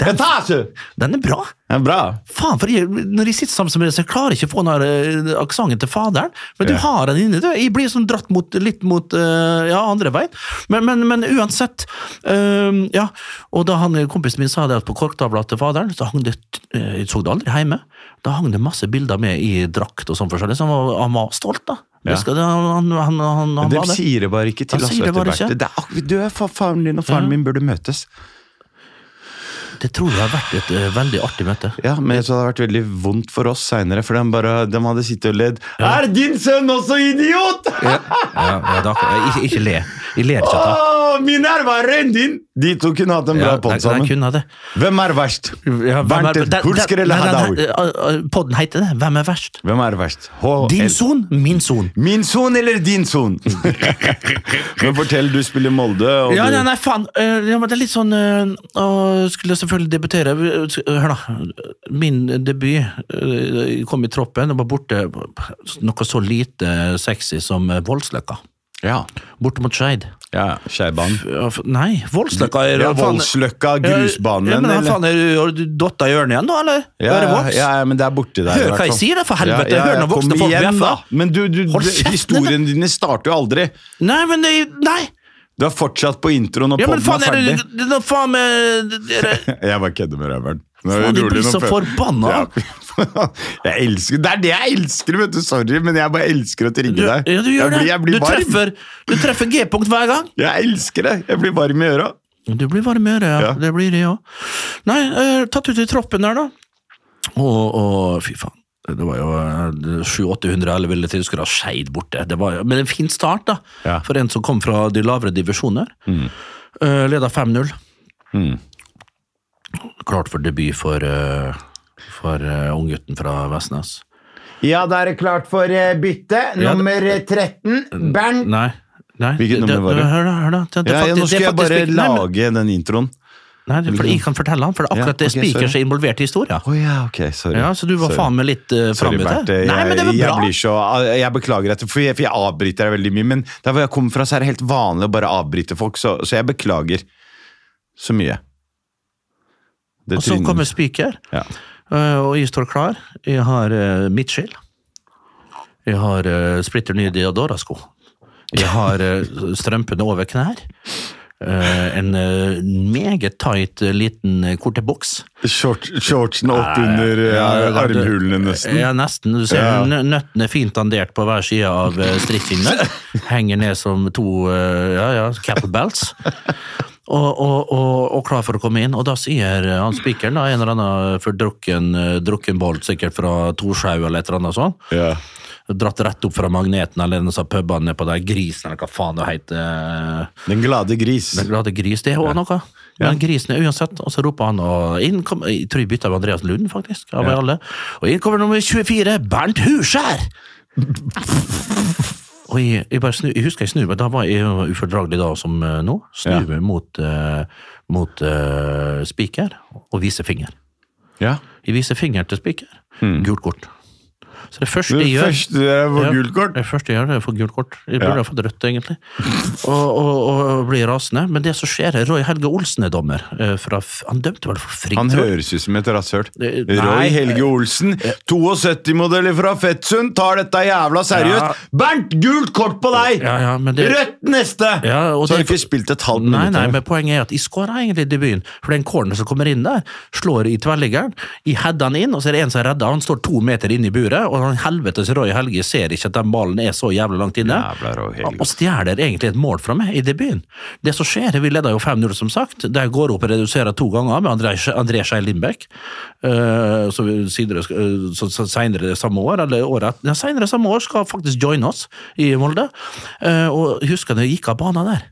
Speaker 2: Etasje!
Speaker 3: Den er bra!
Speaker 2: Ja, bra.
Speaker 3: Faen, for jeg, når jeg sitter sammen med deg, så jeg klarer jeg ikke å få den her, eh, aksenten til faderen. Men du
Speaker 2: Ja.
Speaker 3: har den inne, du. Jeg blir sånn dratt mot, litt mot eh, ja, andre veien. Men, men, men uansett. eh, ja. Og da han, kompisen min sa det at på korktavla til faderen, så hang det eh, Jeg så det aldri hjemme. Da hang det masse bilder med i drakt og sånn forskjellig, så han var, han var stolt, da.
Speaker 2: Ja.
Speaker 3: Det skal, han, han, han, han, han
Speaker 2: De
Speaker 3: var det.
Speaker 2: sier det bare ikke til
Speaker 3: Han
Speaker 2: oss.
Speaker 3: sier det
Speaker 2: vet du,
Speaker 3: bare ikke.
Speaker 2: Berthe. Det er ak- Du er fa- faren din og faren min burde møtes.
Speaker 3: Det tror jeg har vært et eh, veldig artig møte.
Speaker 2: Ja, men jeg tror det hadde vært veldig vondt for oss seinere, for de, bare, de hadde sittet og ledd. Er din sønn også idiot?!
Speaker 3: Ja, ja, da, ikke, ikke le. Jeg ler ikke av det.
Speaker 2: Åh, min er verre enn din! De to kunne hatt en bra
Speaker 3: Ja,
Speaker 2: pott
Speaker 3: nei, nei,
Speaker 2: sammen.
Speaker 3: kunne ha det.
Speaker 2: Hvem er verst?
Speaker 3: Ja, hvem er-
Speaker 2: Bernt
Speaker 3: den- den-
Speaker 2: Hulsker eller
Speaker 3: nei, den-
Speaker 2: Hadaoui?
Speaker 3: eh, eh, Podden heter det. Hvem er verst?
Speaker 2: Hvem er verst? H- L-
Speaker 3: Din son, min son.
Speaker 2: Min son eller din son? men fortell, du spiller Molde, og
Speaker 3: Ja, nei,
Speaker 2: du
Speaker 3: nei, faen. eh, ja, men det er litt sånn eh, å, Skulle selvfølgelig debutere. Eh, sk- Hør, da. Min debut eh, jeg kom i troppen og var borte noe så lite sexy som eh, Voldsløkka.
Speaker 2: Ja,
Speaker 3: Borte mot Skeid.
Speaker 2: ja Skeibanen.
Speaker 3: Ja, f- Nei, Voldsløkka er
Speaker 2: Ja,
Speaker 3: faen-
Speaker 2: Voldsløkka, grusbanen,
Speaker 3: Ja, men, eller?
Speaker 2: eller?
Speaker 3: Faen, er du, har du dotta i hjørnet igjen, da? Eller?
Speaker 2: Ja,
Speaker 3: Hører
Speaker 2: ja,
Speaker 3: voks?
Speaker 2: ja, ja, men det er borti der. i
Speaker 3: Hør
Speaker 2: hvert
Speaker 3: hva jeg
Speaker 2: fall.
Speaker 3: sier, da, for helvete! Hør når
Speaker 2: kom
Speaker 3: voksne folk
Speaker 2: igjen,
Speaker 3: bjeffer!
Speaker 2: da. Men du, du,
Speaker 3: Hold
Speaker 2: du
Speaker 3: kjeften,
Speaker 2: historiene dine starter jo aldri.
Speaker 3: Nei, men det, nei!
Speaker 2: Du er fortsatt på introen, og
Speaker 3: Ja, men
Speaker 2: podden
Speaker 3: faen,
Speaker 2: er
Speaker 3: er det,
Speaker 2: ferdig.
Speaker 3: det, det, det faen med det- det-
Speaker 2: Jeg bare kødder med Røveren.
Speaker 3: Faen, de blir så forbanna.
Speaker 2: Jeg elsker, det er det jeg elsker, vet du. Sorry, men jeg bare elsker å trigge
Speaker 3: Du, ja,
Speaker 2: deg.
Speaker 3: du
Speaker 2: jeg
Speaker 3: gjør
Speaker 2: blir,
Speaker 3: det.
Speaker 2: jeg blir
Speaker 3: du,
Speaker 2: varm.
Speaker 3: treffer, du treffer G-punkt hver gang.
Speaker 2: Jeg elsker det. Jeg blir varm i øra.
Speaker 3: Du blir varmere, ja.
Speaker 2: Ja.
Speaker 3: Det blir det, ja. Nei, eh, tatt ut i troppen der, da. Og, og fy faen. Det var jo eh, 700-800 elleville tilskuere, skeid borte. Det var, jo- men en fin start, da.
Speaker 2: Ja.
Speaker 3: For en som kom fra de lavere divisjoner. Mm. Leda 5-0.
Speaker 2: Mm.
Speaker 3: Klart for debut for, eh, for eh, unggutten fra Vestnes.
Speaker 2: Ja, da er det klart for eh, bytte.
Speaker 3: Ja, det-
Speaker 2: Nummer 13, Bernt.
Speaker 3: Nei. Nei,
Speaker 2: Hvilket nummer var det?
Speaker 3: Hør, da. hør da. Det, det er
Speaker 2: Ja, ja,
Speaker 3: faktisk-
Speaker 2: nå skal
Speaker 3: det er
Speaker 2: jeg bare
Speaker 3: faktisk- nei, men-
Speaker 2: lage den introen.
Speaker 3: Nei, det- for jeg kan fortelle han, for det er
Speaker 2: Ja,
Speaker 3: akkurat det
Speaker 2: ok, sorry.
Speaker 3: spiker seg involvert i historien.
Speaker 2: Å ja, ok, sorry.
Speaker 3: Ja, så du var
Speaker 2: Sorry.
Speaker 3: faen meg litt uh,
Speaker 2: Sorry,
Speaker 3: framme
Speaker 2: Bernt.
Speaker 3: der.
Speaker 2: Jeg,
Speaker 3: Nei, men det var
Speaker 2: jeg,
Speaker 3: bra.
Speaker 2: blir så, jeg beklager at for jeg, for jeg avbryter deg veldig mye, men der hvor jeg kommer fra, så er det helt vanlig å bare avbryte folk, så, så jeg beklager så mye. Det
Speaker 3: Og så
Speaker 2: trynet-
Speaker 3: kommer spiker,
Speaker 2: ja.
Speaker 3: eh, og jeg står klar. Jeg har uh, midtskill. Jeg har eh, splitter nye Diadora-sko. Jeg har eh, strømpene over knær. Eh, en eh, meget tight eh, liten eh, korteboks.
Speaker 2: Short, shortsen opp under eh,
Speaker 3: Ja, det-
Speaker 2: armhulene, nesten.
Speaker 3: Ja, nesten. Du ser
Speaker 2: Ja.
Speaker 3: nø- nøttene fint dandert på hver side av eh, strikkingene. Henger ned som to eh, ja, ja, kettlebells. Og, og, og, og klar for å komme inn. Og da sier eh, han spikeren, da, en eller annen fordrukken eh, drukken bolt, sikkert fra Torshaug eller et eller annet sånt,
Speaker 2: Ja.
Speaker 3: dratt rett opp fra magneten eller en av pubene nedpå der, grisen eller hva faen det heter.
Speaker 2: Den glade gris.
Speaker 3: Den glade gris, det er også noe. Men grisen er uansett, og så roper han og inn kom, Jeg tror jeg bytta med Andreas Lund, faktisk. Av alle. Og inn kommer nummer 24, Bernt Huskjær! og jeg, jeg, bare snu, jeg husker jeg snur meg, da var jeg jo ufordragelig da som eh, nå. Snur meg mot, eh, mot eh, spiker og viser finger.
Speaker 2: Ja.
Speaker 3: Jeg viser finger til spiker. Gult kort. Så det første
Speaker 2: Det
Speaker 3: jeg gjør
Speaker 2: første der er for
Speaker 3: ja,
Speaker 2: eh, gult kort.
Speaker 3: Det første jeg gjør, er å få gult kort. Jeg burde
Speaker 2: Ja.
Speaker 3: ha fått rødt, egentlig. Og, og, og blir rasende. Men det som skjer, er Roy Helge Olsen er dommer. eh, Fra, f- han dømte vel for fritt?
Speaker 2: Han
Speaker 3: tror jeg.
Speaker 2: høres ut som et rasshøl.
Speaker 3: Det-
Speaker 2: Roy
Speaker 3: Eh, nei. eh.
Speaker 2: Helge Olsen, 72-modeller fra Fettsund, tar dette jævla seriøst.
Speaker 3: Ja.
Speaker 2: Bernt, gult kort på deg!
Speaker 3: Ja, ja, men det-
Speaker 2: Rødt neste!
Speaker 3: Ja, og
Speaker 2: så har du
Speaker 3: det-
Speaker 2: ikke spilt et halvt
Speaker 3: Nei,
Speaker 2: minutt.
Speaker 3: nei,
Speaker 2: her.
Speaker 3: men poenget er at jeg skåra egentlig i debuten. For den corner som kommer inn der, slår i tverrliggeren. Jeg header han inn, og så er det en som redder. Han står to meter inne i buret, og han helvetes Roy Helge ser ikke at den ballen er så jævlig langt inne.
Speaker 2: Jævla Roy Helge.
Speaker 3: og stjeler egentlig et mål fra meg i debuten. Det som skjer, er vi leder jo 5-0, som sagt. Der går opp og reduserer to ganger med André, André Skei Lindbekk. eh, som vi senere, eh, så- så senere samme år, eller året etter- ja, senere samme år skal faktisk joine oss i Molde. Eh, og jeg husker da jeg gikk av banen der.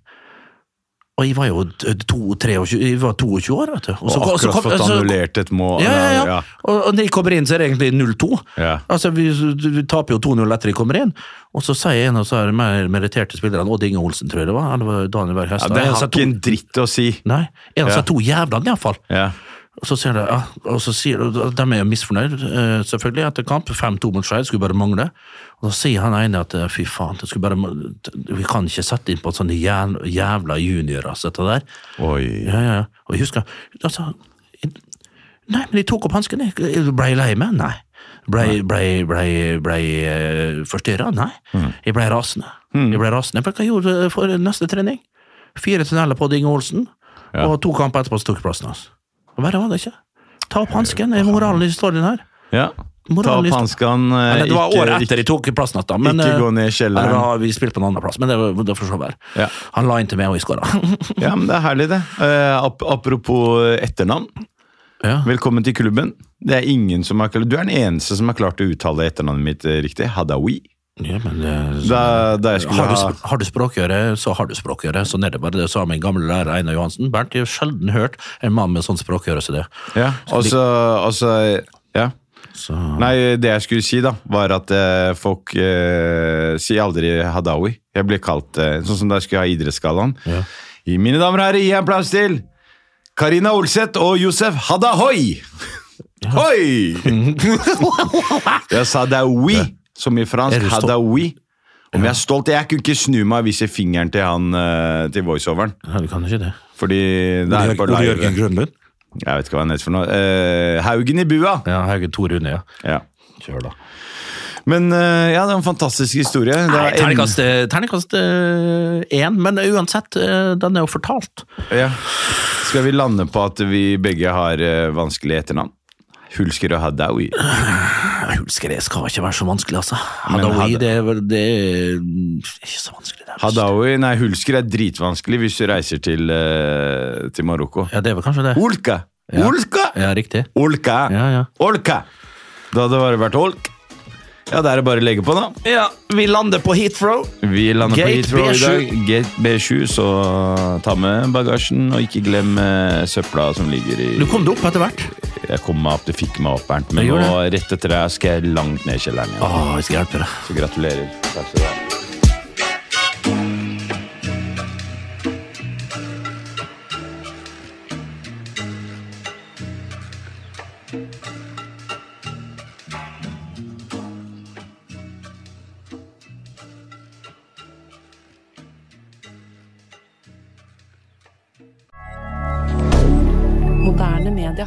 Speaker 3: Og jeg var jo d- to, 23, jeg var 22 år, vet du. Og, så-
Speaker 2: og
Speaker 3: og så
Speaker 2: akkurat
Speaker 3: kom-
Speaker 2: fått
Speaker 3: så-
Speaker 2: annullert et mål.
Speaker 3: ja, ja, ja.
Speaker 2: Ja.
Speaker 3: Og, og når de kommer inn, så er det egentlig 0-2.
Speaker 2: Ja.
Speaker 3: Altså, vi, vi taper jo 2-0 etter de kommer inn. Og så sier en av de mer meritterte spillerne, Odd Inge Olsen, tror jeg det var, eller var det Daniel Berg
Speaker 2: Ja,
Speaker 3: Høstad
Speaker 2: det
Speaker 3: En av
Speaker 2: har
Speaker 3: seg to-
Speaker 2: ikke en dritt å si.
Speaker 3: Nei, en av
Speaker 2: Ja.
Speaker 3: seg to jævlene, iallfall.
Speaker 2: Ja.
Speaker 3: Og så sier de, ja, og så sier de, de er jo misfornøyd, eh, selvfølgelig, etter kamp. 5-2 mot Skeid, skulle bare mangle. Og da sier han ene at eh, fy faen, det skulle bare, man- vi kan ikke sette inn på sånne jæv- jævla juniorer, altså, dette der.
Speaker 2: Oi.
Speaker 3: Ja, ja, ja. Og jeg husker altså, Nei, men de tok opp hansken. jeg. Jeg Ble jeg lei meg? Nei. Ble jeg forstyrra? Nei.
Speaker 2: Mm.
Speaker 3: Jeg ble rasende. Jeg ble rasende. For hva jeg gjorde jeg for neste trening? Fire tunneler på Dinge Olsen, og to kamper etterpå så tok jeg plassen hans. Og Verre var det ikke. Ta opp hansken, er moralen i historien her.
Speaker 2: Ja. Ta
Speaker 3: Moralen
Speaker 2: opp
Speaker 3: i historien.
Speaker 2: hanskene.
Speaker 3: Eller, det var året
Speaker 2: ikke-
Speaker 3: etter de tok plassen hans, da. Men,
Speaker 2: ikke
Speaker 3: eh,
Speaker 2: gå ned i kjelleren.
Speaker 3: eller da har vi spilt på en annen plass, men det, var- det får så være.
Speaker 2: Ja.
Speaker 3: Han la inn til meg, og jeg skåra.
Speaker 2: Ja, men det er herlig, det. Eh, ap apropos etternavn.
Speaker 3: Ja.
Speaker 2: Velkommen til klubben. Det er ingen som har, du er den eneste som har klart å uttale etternavnet mitt eh, riktig. Hadawi.
Speaker 3: Ja, men, eh, så-
Speaker 2: Da, da jeg skulle
Speaker 3: har, du,
Speaker 2: ha
Speaker 3: sp- har du språkøre, så har du språkøre. Sånn er det bare. Det sa min gamle lærer Einar Johansen. Bernt, jeg har sjelden hørt en mann med sånn språkøre som det.
Speaker 2: Ja, og så og så- Ja.
Speaker 3: Så,
Speaker 2: Nei, det jeg skulle si, da, var at eh, folk eh, sier aldri Hadawi. Jeg ble kalt eh, Sånn som da jeg skulle ha Idrettsgallaen.
Speaker 3: Ja.
Speaker 2: I Mine damer og herrer, gi en plass til Karina Olseth og Josef Hadahoi! Hoi! jeg sa det er we, som i
Speaker 3: Er
Speaker 2: fransk.
Speaker 3: du stolt?
Speaker 2: Hadawi. Om jeg er stolt Jeg kunne ikke snu meg og vise fingeren til han eh, til voiceoveren.
Speaker 3: Nei, du kan ikke det.
Speaker 2: Fordi det er på live.
Speaker 3: Grønlund?
Speaker 2: Jeg vet ikke hva han heter for noe. Eh, Haugen i bua!
Speaker 3: Ja, Haugen Tor Rune, ja.
Speaker 2: Ja.
Speaker 3: Kjør, da.
Speaker 2: Men eh, ja, det er en fantastisk historie. Det
Speaker 3: Nei,
Speaker 2: er en-
Speaker 3: Terningkast eh, terningkast, eh, én, men uansett, eh, den er jo fortalt.
Speaker 2: Ja. Skal vi lande på at vi begge har eh, vanskelig etternavn? Hulsker og Hadawi.
Speaker 3: Hulskred skal ikke være så vanskelig, altså.
Speaker 2: Men
Speaker 3: Hadaoui,
Speaker 2: hadde-
Speaker 3: det, er vel- det er ikke så vanskelig. Det er
Speaker 2: Hadawi, nei, Hulsker er dritvanskelig hvis du reiser til, eh, til Marokko.
Speaker 3: Ja, det er vel kanskje det.
Speaker 2: Olka! Olka!
Speaker 3: Ja, riktig.
Speaker 2: Olka!
Speaker 3: Ja, ja.
Speaker 2: Olka! Da hadde det bare vært olk. Ja, da er det bare å legge på, da.
Speaker 3: Ja, vi lander på Heathrow.
Speaker 2: Vi lander
Speaker 3: Gate
Speaker 2: på Heathrow i dag.
Speaker 3: B7.
Speaker 2: Gate B7, så ta med bagasjen, og ikke glem eh, søpla som ligger i
Speaker 3: Du kom deg opp etter hvert.
Speaker 2: Jeg kom meg opp, det fikk meg opp, Bernt, men
Speaker 3: Jeg
Speaker 2: nå,
Speaker 3: gjorde
Speaker 2: rett etter det, skal jeg langt ned i kjelleren igjen.
Speaker 3: Å, jeg skal hjelpe deg.
Speaker 2: Så gratulerer. Takk skal du ha.
Speaker 5: Moderne media.